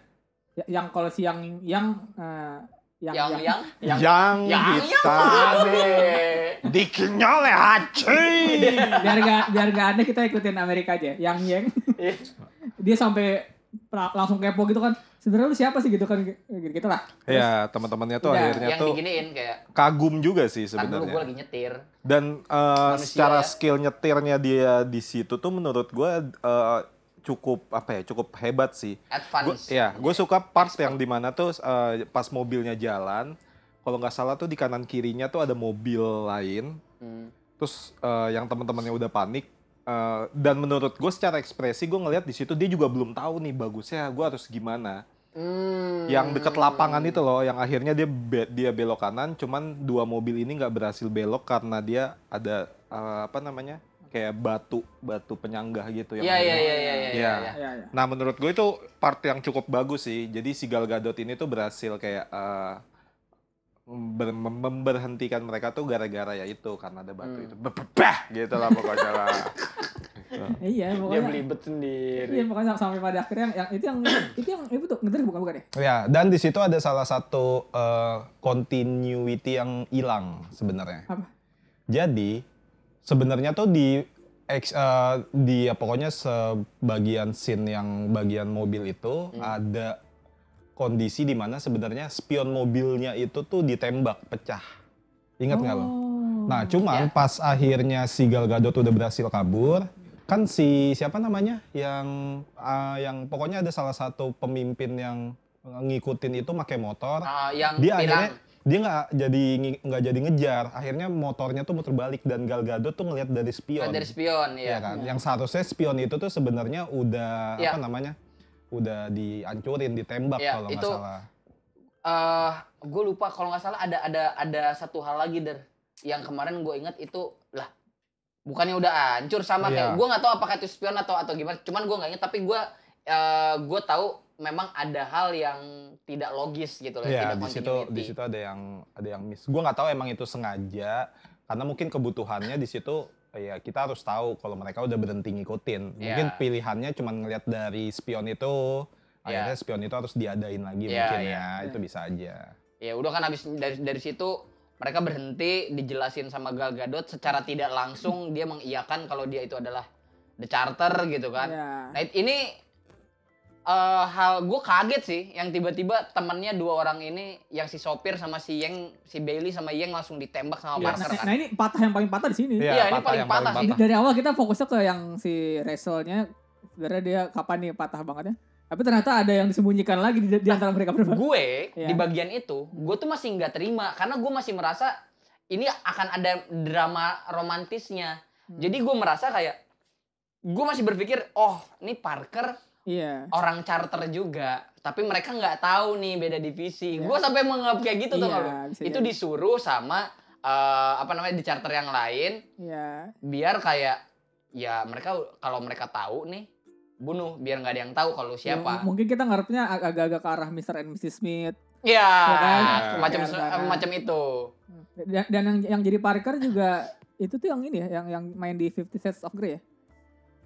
D: Ya- Yang kalau si yang yang eh, yang
B: Yang yang
C: yang,
B: yang
C: hitam dikinyol oleh haji.
D: biar gak biar gak aneh kita ikutin Amerika aja. Yang yang
B: Iya.
D: dia sampai pra- langsung kepo gitu kan. Sebenarnya lu siapa sih gitu kan gitu lah.
C: ya teman-temannya tuh
D: Udah,
C: akhirnya
B: yang
C: tuh
B: diginiin kayak
C: kagum juga sih
B: kan dulu gue
C: sebenarnya.
B: lagi nyetir.
C: Dan eh,
B: Manusia
C: secara
B: ya.
C: skill nyetirnya dia di situ tuh menurut gue eh, cukup apa ya cukup hebat sih. Gua,
B: Advance.
A: iya,
C: ya, gue suka part yang dimana tuh eh, pas mobilnya jalan, kalau nggak salah tuh di kanan kirinya tuh ada mobil lain,
B: Hmm.
C: terus eh, yang teman-temannya udah panik. Eh, dan menurut gue secara ekspresi gue ngelihat di situ dia juga belum tahu nih bagusnya gue harus gimana.
B: Hmm.
C: Yang deket lapangan itu loh, yang akhirnya dia be- dia belok kanan, cuman dua mobil ini nggak berhasil belok karena dia ada eh, apa namanya kayak batu batu penyangga gitu yang
B: Iya iya iya
C: mengenai-
B: iya iya.
C: Iya.
B: iya.
D: Ya, ya.
C: Nah menurut gue itu part yang cukup bagus sih. Jadi si Gal Gadot ini tuh berhasil kayak eh, ber- mem- memberhentikan mereka tuh gara-gara ya itu karena ada batu
B: Hmm.
C: itu. Bebebah gitu lah pokoknya lah.
D: Iya,
B: Dia
D: pokoknya.
B: belibet sendiri.
D: Iya, pokoknya sampai pada akhirnya yang, yang itu yang itu yang itu tuh ngedrift bukan bukan ya?
A: Ya, dan di situ ada salah satu eh, continuity yang hilang sebenarnya.
D: Apa?
A: Jadi sebenarnya tuh di ex, eh, di ya, pokoknya sebagian scene yang bagian mobil itu ada kondisi di mana sebenarnya spion mobilnya itu tuh ditembak pecah. Ingat nggak
D: Oh.
A: lo? Nah, cuman pas akhirnya si Gal Gadot udah berhasil kabur, kan si siapa namanya yang ah, yang pokoknya ada salah satu pemimpin yang ngikutin itu pakai motor,
B: Ah, yang
A: dia
B: pirang.
A: akhirnya dia nggak jadi ngi- nggak jadi ngejar, akhirnya motornya tuh muter balik dan Gal Gadot tuh ngelihat dari
B: Ah,
A: spion,
B: dari spion
A: Iya
B: ya.
A: kan?
C: Hmm.
A: Yang seharusnya spion itu tuh sebenarnya udah
B: Iya.
A: apa namanya, udah dihancurin, ditembak
B: Iya,
A: kalau nggak
B: itu-
A: salah.
B: Eh, gue lupa kalau nggak salah ada ada ada satu hal lagi der yang kemarin gue inget itu lah bukannya udah hancur
A: Iya.
B: sama kayak gue nggak tahu apakah itu spion atau atau gimana cuman gue nggak inget tapi gue gue tahu memang ada hal yang tidak logis gitu loh
A: Iya
B: yang tidak
A: di situ
B: continuity.
A: di situ ada yang ada yang miss. Gua nggak tahu emang itu sengaja karena mungkin kebutuhannya di situ eh, ya kita harus tahu kalau mereka udah berhenti ngikutin. Mungkin
B: Iya.
A: pilihannya cuma ngelihat dari spion itu akhirnya spion itu harus diadain lagi
B: Iya,
A: mungkin
B: iya.
A: ya itu bisa aja.
B: ya udah kan habis dari dari situ mereka berhenti dijelasin sama Gal Gadot secara tidak langsung dia mengiyakan kalau dia itu adalah the charter gitu kan
D: Ya.
B: Nah, ini eh, hal gue kaget sih yang tiba-tiba temannya dua orang ini yang si sopir sama si Yang si Bailey sama Yang langsung ditembak sama
D: Nah,
B: Parker
D: nah,
B: kan.
D: nah, ini patah yang paling patah di sini.
B: Iya, ini paling
A: yang
B: patah sih.
D: Dari awal kita fokusnya ke yang si Resolnya sebenarnya dia kapan nih patah bangetnya. Tapi ternyata ada yang disembunyikan lagi di, di antara mereka
B: Nah,
D: berdua.
B: Gue
D: Iya.
B: di bagian itu gue tuh masih nggak terima karena gue masih merasa ini akan ada drama romantisnya.
D: Hmm.
B: Jadi gue merasa kayak gue masih berpikir oh ini Parker
D: Iya.
B: orang charter juga tapi mereka nggak tahu nih beda divisi.
D: Iya.
B: Gue sampai menganggap kayak gitu tuh
D: Iya,
B: kalau
D: bisa
B: itu
D: jadi.
B: disuruh sama eh, apa namanya di charter yang lain
D: Iya.
B: biar kayak ya mereka kalau mereka tahu nih bunuh biar nggak ada yang tahu kalau lu
D: Ya,
B: siapa
D: mungkin kita ngarepnya ag- agak-agak ke arah Mr. and Mrs. Smith.
B: ya,
D: kan?
B: macam
D: Ya, karena-
B: eh, macam itu
D: Dan, dan yang yang jadi Parker juga itu tuh yang ini ya, yang yang main di Fifty Shades of Grey ya.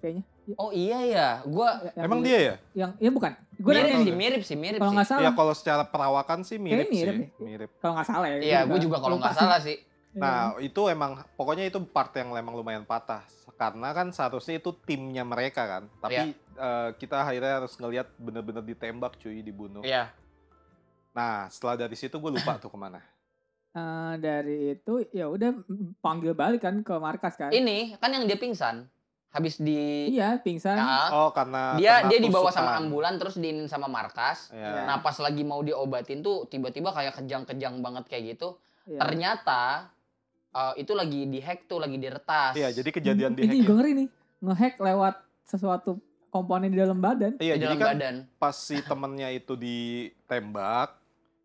D: Kayaknya. Ya,
B: oh iya ya gua
D: ya, yang
C: Emang
D: di-
C: dia ya?
D: Yang ya bukan. Gue
B: mirip
D: nanya
B: sih
D: nih,
B: mirip sih mirip
D: Kalau
B: sih
D: nggak
C: Ya
D: salah.
C: kalau secara perawakan sih mirip,
D: mirip
C: sih,
D: ya.
C: mirip.
D: Kalau nggak salah ya.
B: iya gua juga kalau
D: Lupa
B: nggak
D: sih.
B: salah sih
D: Iya.
C: Nah itu emang pokoknya itu part yang emang lumayan patah karena kan seharusnya itu timnya mereka kan, tapi
B: Iya.
C: eh, kita akhirnya harus ngelihat bener-bener ditembak cuy dibunuh.
B: iya
C: Nah setelah dari situ gue lupa tuh kemana.
D: Eh, dari itu ya udah mm, panggil balik kan ke markas kan.
B: ini kan yang dia pingsan habis di
D: Iya, pingsan.
B: Ah,
C: Oh karena
B: dia
C: kena
B: dia dibawa sama
C: tusukan.
B: ambulan terus diinin sama markas
C: Ya.
D: Ya.
B: nah pas lagi mau diobatin tuh tiba-tiba kayak kejang-kejang banget kayak gitu
D: Iya.
B: ternyata eh, itu lagi dihack tuh lagi diretas
C: Iya, jadi kejadian di
D: Itu juga ngeri nih. Ngehack lewat sesuatu komponen di dalam badan.
C: Iya,
B: di dalam
C: jadi kan
B: badan
C: pas si temennya itu ditembak,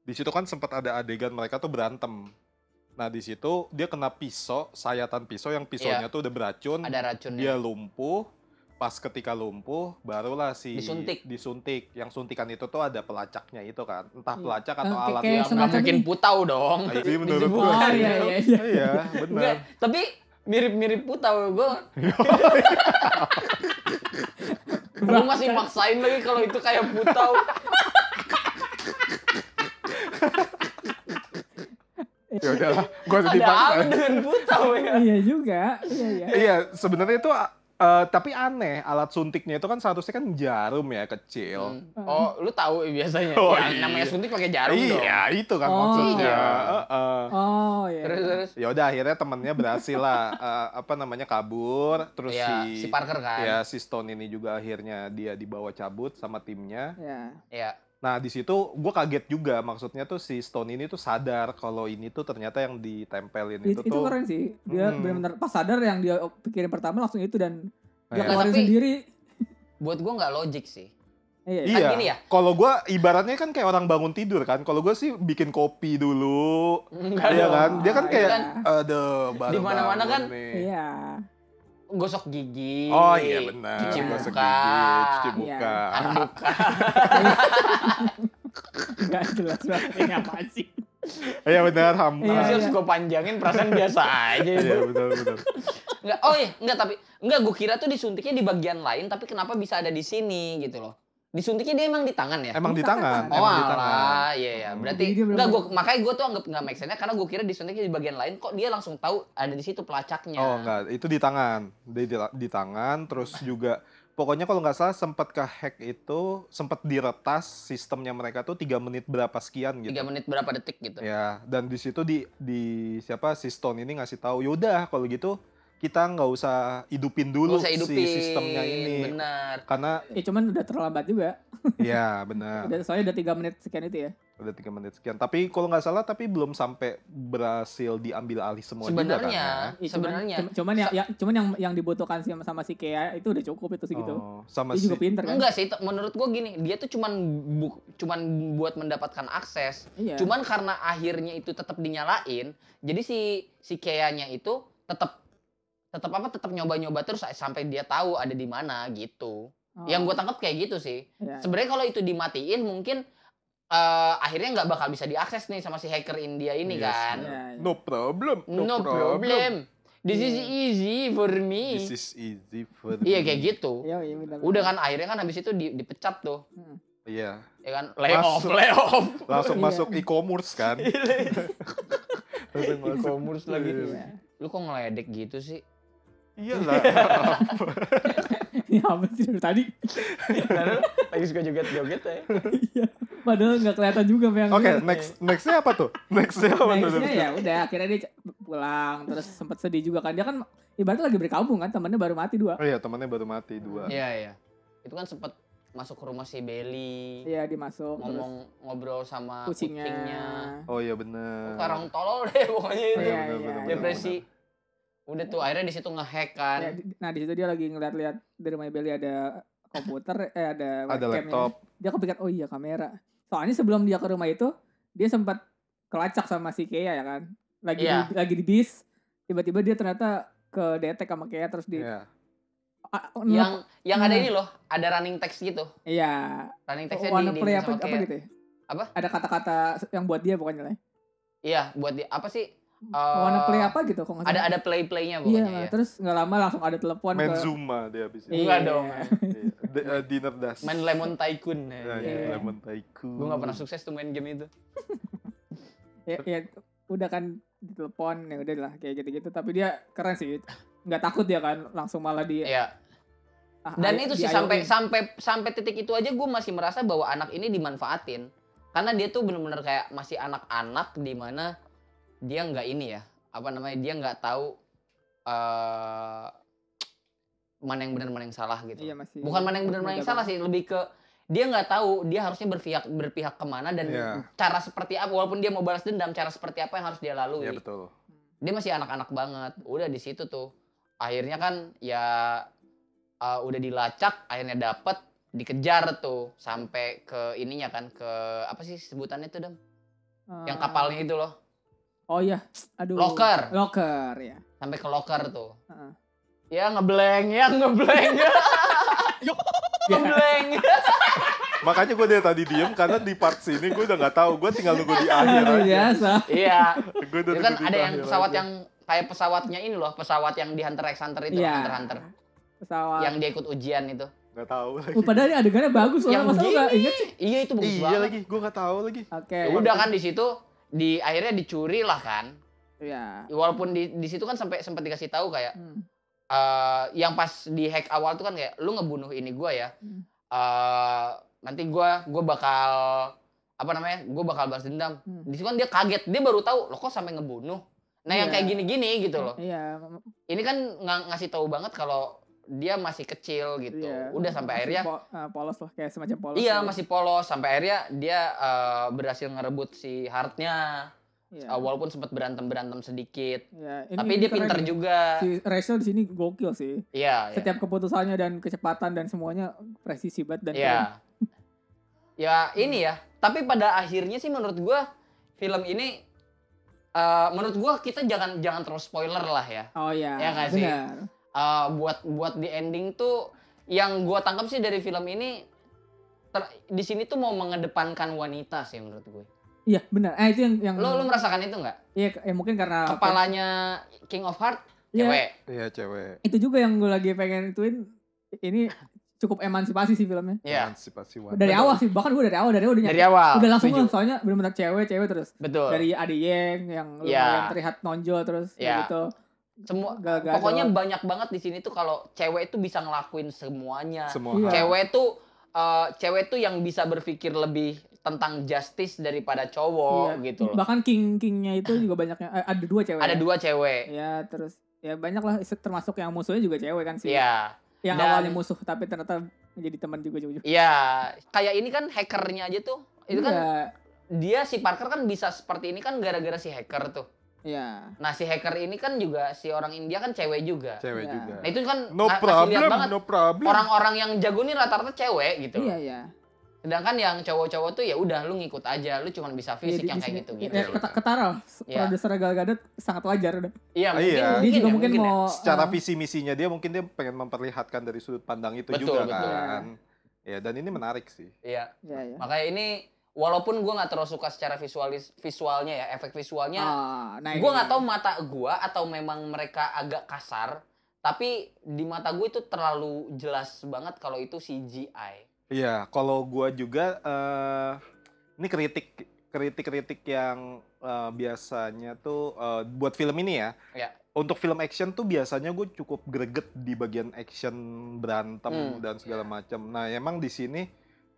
C: di situ kan sempat ada adegan mereka tuh berantem. Nah, di situ
B: Iya.
C: dia kena pisau, sayatan pisau yang pisaunya tuh udah beracun,
D: Iya.
B: ada racunnya Ya,
C: dia lumpuh. pas ketika lumpuh barulah si
B: Disuntik.
C: disuntik. Yang suntikan itu tuh ada pelacaknya itu kan. Entah
D: Iya.
C: pelacak atau
D: Oke,
C: alat
D: kayak
C: yang
B: Nggak
D: semacam
B: mungkin
D: ini.
B: putau dong.
C: Nah, ini menurut
B: disebut.
C: gue.
D: Oh, iya, iya, iya.
C: Iya, benar.
B: Enggak, tapi mirip-mirip putau gue. Lu masih maksain lagi kalau itu kayak putau.
C: Ya udahlah, gua jadi
B: Ada apa dengan putau ya?
D: Iya juga. Iya iya.
C: Iya, sebenarnya itu eh, tapi aneh alat suntiknya itu kan seharusnya kan jarum ya kecil.
B: Hmm. Oh, lu tahu biasanya.
C: Oh,
B: ya,
C: iya.
B: namanya suntik pakai jarum dong.
C: iya, itu kan
D: Oh.
C: maksudnya.
B: Iya.
C: Heeh.
D: Oh iya.
B: Terus terus
C: Ya udah akhirnya temennya berhasil lah eh, apa namanya kabur terus
B: ya,
C: si
B: si Parker kan.
C: ya si Stone ini juga akhirnya dia dibawa cabut sama timnya.
D: Ya.
B: Iya.
C: Nah di situ gue kaget juga maksudnya tuh si Stone ini tuh sadar kalau ini tuh ternyata yang ditempelin itu,
D: Itu, itu
C: tuh.
D: keren sih. Dia
C: Hmm.
D: benar-benar pas sadar yang dia pikirin pertama langsung itu dan dia
C: Iya.
D: keluarin
B: Tapi-
D: sendiri.
B: Buat gua nggak logik sih.
D: Iya. iya.
C: Iya.
B: gini ya?
C: Kalau gue ibaratnya kan kayak orang bangun tidur kan. Kalau gue sih bikin kopi dulu.
B: Enggak
C: Iya
B: dong.
C: kan? Dia kan
D: Ah,
C: kayak
B: kan.
C: ada baru
B: Di mana-mana
C: bangun
B: kan.
C: nih.
D: Iya.
B: Gosok gigi.
C: Oh iya benar.
B: Cuci
D: Iya.
C: Gosok
B: muka.
C: gigi, cuci
D: Iya.
C: muka.
D: Enggak jelas banget ini apa sih.
C: Iya benar, ham.
D: Iya,
B: Masih
D: iya.
B: harus gue panjangin perasaan biasa aja
C: Iya
B: itu.
C: benar benar.
B: Enggak, oh iya, enggak tapi enggak gue kira tuh disuntiknya di bagian lain tapi kenapa bisa ada di sini gitu loh. Disuntiknya dia emang di tangan ya?
C: Emang di tangan,
D: Tangan.
B: Oh
C: emang di tangan.
B: alah, iya ya.
C: Hmm.
B: Berarti
D: Jadi dia
B: enggak gua
D: bener-bener-
B: makanya gue tuh anggap enggak make sense karena gue kira disuntiknya di bagian lain kok dia langsung tahu ada di situ pelacaknya.
C: Oh enggak, itu di tangan. Di, di, di tangan terus juga pokoknya kalau nggak salah sempat ke hack itu sempat diretas sistemnya mereka tuh 3 menit berapa sekian gitu.
B: 3 menit berapa detik gitu.
C: Ya, dan di situ di di siapa si Stone ini ngasih tahu, "Yaudah, kalau gitu kita nggak usah hidupin dulu
B: Gak usah hidupin.
C: si sistemnya ini."
B: Benar.
C: Karena
D: Ya cuman udah terlambat juga.
C: ya benar.
D: Udah, soalnya udah 3 menit sekian itu ya.
C: Udah tiga menit sekian. Tapi kalau nggak salah, tapi belum sampai berhasil diambil alih semua juga kan
B: Sebenarnya,
C: ya?
D: Iya, cuman-
B: sebenarnya
D: cum- cuman, yang, yang- cuman yang yang dibutuhkan sih sama, sama si Kea itu udah cukup itu segitu.
C: Oh, sama si
D: gitu. Dia juga pinter kan?
B: enggak sih. t- Menurut gue gini, dia tuh cuman bu- cuman buat mendapatkan akses.
D: Iya.
B: Cuman karena akhirnya itu tetap dinyalain, jadi si si Kea-nya itu tetap tetap apa tetap nyoba-nyoba terus sampai dia tahu ada di mana gitu.
D: Oh,
B: Yang gue tangkap kayak gitu sih.
D: iya.
B: Sebenarnya kalau itu dimatiin mungkin eh, akhirnya nggak bakal bisa diakses nih sama si hacker India ini
C: Yes,
B: kan.
D: Iya, iya.
C: No problem.
B: No, problem. This is
D: Hmm.
B: easy for me.
C: This is easy for
B: Iya
C: me.
B: kayak gitu.
D: Iya, iya, benar.
B: Udah kan akhirnya kan habis itu di- dipecat tuh.
C: Iya.
B: Ya kan layoff,
C: Masuk.
B: layoff.
C: Langsung
D: Iya.
C: masuk e-commerce kan. Langsung masuk.
B: E-commerce lagi.
D: Iya.
B: Lu kok ngeledek gitu sih?
C: Iya lah.
D: Ya apa sih dari tadi?
B: Padahal lagi suka joget-joget ya.
D: Iya. Padahal nggak kelihatan juga Bang.
C: Oke, next nextnya apa tuh? Nextnya apa tuh?
D: Nextnya ya udah akhirnya dia c- pulang terus sempat sedih juga kan dia kan ibaratnya lagi berkabung kan temannya baru mati dua.
C: Oh iya, temannya baru mati dua.
B: Iya, iya. Itu kan sempet masuk ke rumah si Belly.
D: Iya dimasuk terus
B: Ngomong ngobrol sama
D: kucingnya.
B: kucingnya.
C: Oh iya bener. Oh
B: Orang tolol deh pokoknya itu.
D: Iya,
C: bener,
D: iya.
C: bener, bener,
B: Depresi. Udah tuh akhirnya di situ ngehack kan.
D: Ya, di- nah di situ dia lagi ngeliat-liat di rumah Belly ada komputer eh ada
C: bener. Ada
D: webcamnya.
C: laptop.
D: Dia kepikiran oh iya kamera. Soalnya sebelum dia ke rumah itu dia sempat kelacak sama si Kea ya kan. Lagi
B: Iya.
D: di, lagi di bis tiba-tiba dia ternyata ke detek sama Kea terus di
C: Iya.
D: Ah, oh,
B: Yang yang ada
D: Hmm.
B: ini loh, ada running text gitu.
D: iya
B: Running textnya di,
D: Wanna
B: di
D: play
B: sama
D: apa, apa
B: kayak-
D: gitu ya?
B: Apa?
D: Ada kata-kata yang buat dia pokoknya lah.
B: Iya, buat di apa sih? Eh,
D: Wanna play apa gitu kok nggak
B: Ada
D: salah.
B: ada play-playnya
D: Iya,
B: pokoknya ya.
D: terus nggak lama langsung ada telepon
C: Main
D: ke
C: Zuma dia habis itu.
B: Enggak
D: Iya.
B: dong.
C: Iya. D- eh, Dinner das.
B: Main Lemon Tycoon. Ya,
C: Nah,
D: Iya.
C: Lemon Tycoon.
B: Gue gak pernah sukses tuh main game itu.
D: ya, ya, udah kan ditelepon ya udah lah kayak gitu-gitu tapi dia keren sih nggak takut dia kan langsung malah di
B: Iya.
D: ah,
B: Dan
D: ay-
B: itu sih
D: diayomin.
B: sampai sampai sampai titik itu aja gue masih merasa bahwa anak ini dimanfaatin. Karena dia tuh bener-bener kayak masih anak-anak di mana dia nggak ini ya apa namanya dia nggak tahu eh mana yang benar mana yang salah gitu.
D: iya, masih
B: Bukan mana yang benar mana yang
D: muda
B: salah sih lebih ke dia nggak tahu dia harusnya berpihak berpihak kemana dan
C: Iya.
B: cara seperti apa walaupun dia mau balas dendam cara seperti apa yang harus dia lalui
C: Iya betul.
B: dia masih anak-anak banget udah di situ tuh akhirnya kan ya uh, udah dilacak akhirnya dapet dikejar tuh sampai ke ininya kan ke apa sih sebutannya tuh dam
D: banget.
B: yang
D: Ah,
B: kapalnya itu loh
D: oh iya aduh
B: Locker.
D: locker ya
B: sampai ke loker tuh
D: Heeh.
B: ya ngebleng ya ngebleng
A: Yuk.
D: Ya.
B: Iya,
D: Iya,
B: Bleng.
C: Makanya gue dari tadi diem karena di part sini gue udah nggak tahu. Gue tinggal nunggu di akhir aja.
D: Luar biasa.
B: Iya.
C: Gue udah
B: Itu
C: nunggu
B: kan
C: di
B: ada yang
C: akhir
B: pesawat
C: aja.
B: yang kayak pesawatnya ini loh, pesawat yang di Hunter x Hunter itu,
D: Iya.
B: Hunter x Hunter.
D: Pesawat.
B: Yang dia ikut ujian itu.
C: nggak tahu lagi.
D: Oh,
B: Iya
D: padahal ini adegannya bagus soalnya
B: Yang
D: masa lu nggak
B: begini.
D: inget sih?
B: Iya itu bagus
C: Iya
B: banget.
C: lagi, gue nggak tahu lagi.
D: Oke.
B: Ya udah kan di situ di akhirnya dicuri lah kan.
D: Iya.
B: Walaupun di di situ kan sampai sempat dikasih tahu kayak
D: Hmm.
B: eh yang pas di hack awal tuh kan kayak lu ngebunuh ini gua ya.
D: Hmm.
B: Eh nanti gua gua bakal apa namanya? Gua bakal balas dendam.
D: Hmm.
B: Di situ kan dia kaget, dia baru tahu loh kok sampai ngebunuh. Nah, yang
D: Iya.
B: kayak gini-gini gitu loh.
D: Iya.
B: Ini kan nga- ngasih tahu banget kalau dia masih kecil gitu.
D: iya.
B: Udah sampai
D: Masih
B: akhirnya
D: po- eh, polos lah kayak semacam polos.
B: Iya
D: gitu.
B: masih polos sampai akhirnya dia eh, berhasil ngerebut si Hartnya
D: Iya.
B: Eh, walaupun sempat berantem berantem sedikit
D: Iya. Ini-
B: tapi
D: ini
B: dia
D: keren
B: pinter
D: nih.
B: juga
D: Si Rachel di sini gokil sih.
B: iya iya.
D: Setiap keputusannya dan kecepatan dan semuanya presisi banget dan
B: Iya. ya ini ya tapi pada akhirnya sih menurut gua film ini eh, menurut gua kita jangan jangan terlalu spoiler lah ya
D: keren. Oh iya.
B: Iya nggak sih?
D: Benar.
B: Eh, buat buat di ending tuh yang gua tangkap sih dari film ini ter- di sini tuh mau mengedepankan wanita sih menurut gue
D: Iya benar. Eh itu yang yang.
B: lo lo merasakan itu nggak
D: Iya ke- eh, mungkin karena
B: kepalanya King of Heart
D: Iya.
B: cewek
C: Iya cewek.
D: Itu juga yang gue lagi pengen ituin. Ini cukup emansipasi sih filmnya.
B: Iya.
C: Emansipasi wanita.
D: Dari awal sih. Bahkan gue dari awal dari awal udah
B: Dari awal.
D: Ya. udah langsung
B: setuju.
D: lah soalnya benar-benar cewek cewek terus
B: Betul.
D: dari Adi Yeng yang
B: Iya.
D: lumayan terlihat nonjol terus
B: Iya.
D: gitu
B: semua
D: Gak-
B: pokoknya
D: gadot.
B: banyak banget di sini tuh kalau cewek tuh bisa ngelakuin semuanya.
C: Semua.
D: Iya.
C: hal.
B: Cewek tuh eh, cewek tuh yang bisa berpikir lebih tentang justice daripada cowok
D: Iya.
B: gitu loh.
D: bahkan king kingnya itu juga banyak yang eh, ada dua cewek
B: Ada dua cewek.
D: ya terus ya banyak lah se- termasuk yang musuhnya juga cewek kan sih
B: Iya.
D: yang
B: Dan-
D: awalnya musuh tapi ternyata menjadi teman juga juga
B: Iya, kayak ini kan hackernya aja tuh. Itu
D: Iya.
B: kan dia si Parker kan bisa seperti ini kan gara-gara si hacker tuh.
D: ya
B: Nah, si hacker ini kan juga si orang India kan cewek juga.
C: Cewek
D: Iya.
C: juga.
B: Nah, itu kan
C: No
B: ngasih lihat
C: problem,
B: banget
C: no problem.
B: orang-orang yang jago nih rata-rata cewek gitu. loh.
D: iya iya
B: Sedangkan yang cowok-cowok tuh ya udah lu ngikut aja, lu cuman bisa fisik
D: Jadi
B: yang
D: di sini-
B: kayak gitu gitu.
D: ya, keta- ketara
B: Iya.
D: produser Gal Gadot sangat wajar udah
B: Iya,
C: Ah, iya.
D: dia juga
B: ya,
D: mungkin,
B: ya.
D: mau
C: Secara
D: eh,
C: visi misinya dia mungkin dia pengen memperlihatkan dari sudut pandang itu
B: Betul,
C: juga
B: betul.
C: kan. Ya dan ini menarik sih.
B: Iya.
D: iya, iya.
B: Makanya ini walaupun gua nggak terlalu suka secara visualis visualnya ya, efek visualnya.
D: Ah, nah
B: gua
D: ini.
B: nggak tahu mata gua atau memang mereka agak kasar, tapi di mata gue itu terlalu jelas banget kalau itu CGI.
C: Iya, kalau gua juga eh ini kritik kritik-kritik yang eh, biasanya tuh eh, buat film ini ya.
B: Iya.
C: Untuk film action tuh biasanya gue cukup greget di bagian action
B: Hmm.
C: berantem dan segala macam. Nah, emang di sini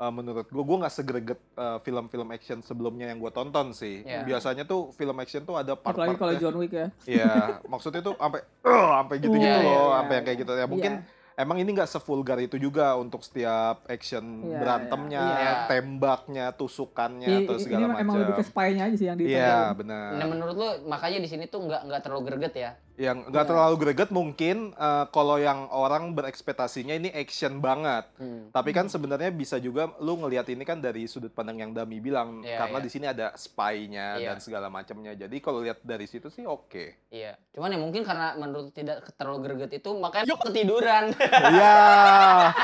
C: eh, menurut gue gue nggak segreget eh, film-film action sebelumnya yang gue tonton sih.
B: Iya.
C: Biasanya tuh film action tuh ada
D: apalagi
C: part-part eh,
D: kalau John Wick ya
C: Iya, maksudnya tuh sampai sampai gitu-gitu
B: Iya, iya,
C: loh,
D: iya.
C: sampai yang kayak gitu. Ya mungkin emang ini nggak sevulgar itu juga untuk setiap action
D: Iya,
C: berantemnya,
B: iya.
C: tembaknya, tusukannya,
D: Iya,
C: terus
D: i-
C: segala
D: ini
C: macam.
D: emang lebih ke spy-nya aja sih yang di
C: Iya,
B: Nah,
C: benar.
B: menurut lu makanya di sini tuh nggak nggak terlalu greget ya?
C: Yang nggak
D: Iya.
C: terlalu greget mungkin eh, kalau yang orang berekspektasinya ini action banget.
B: Hmm.
C: Tapi kan sebenarnya bisa juga lu ngelihat ini kan dari sudut pandang yang Dami bilang
B: Iya,
C: karena
B: iya.
C: di sini ada spy-nya
B: Iya.
C: dan segala macamnya. Jadi kalau lihat dari situ sih oke.
B: Iya. Cuman ya mungkin karena menurut tidak terlalu greget itu makanya ketiduran.
C: Iya.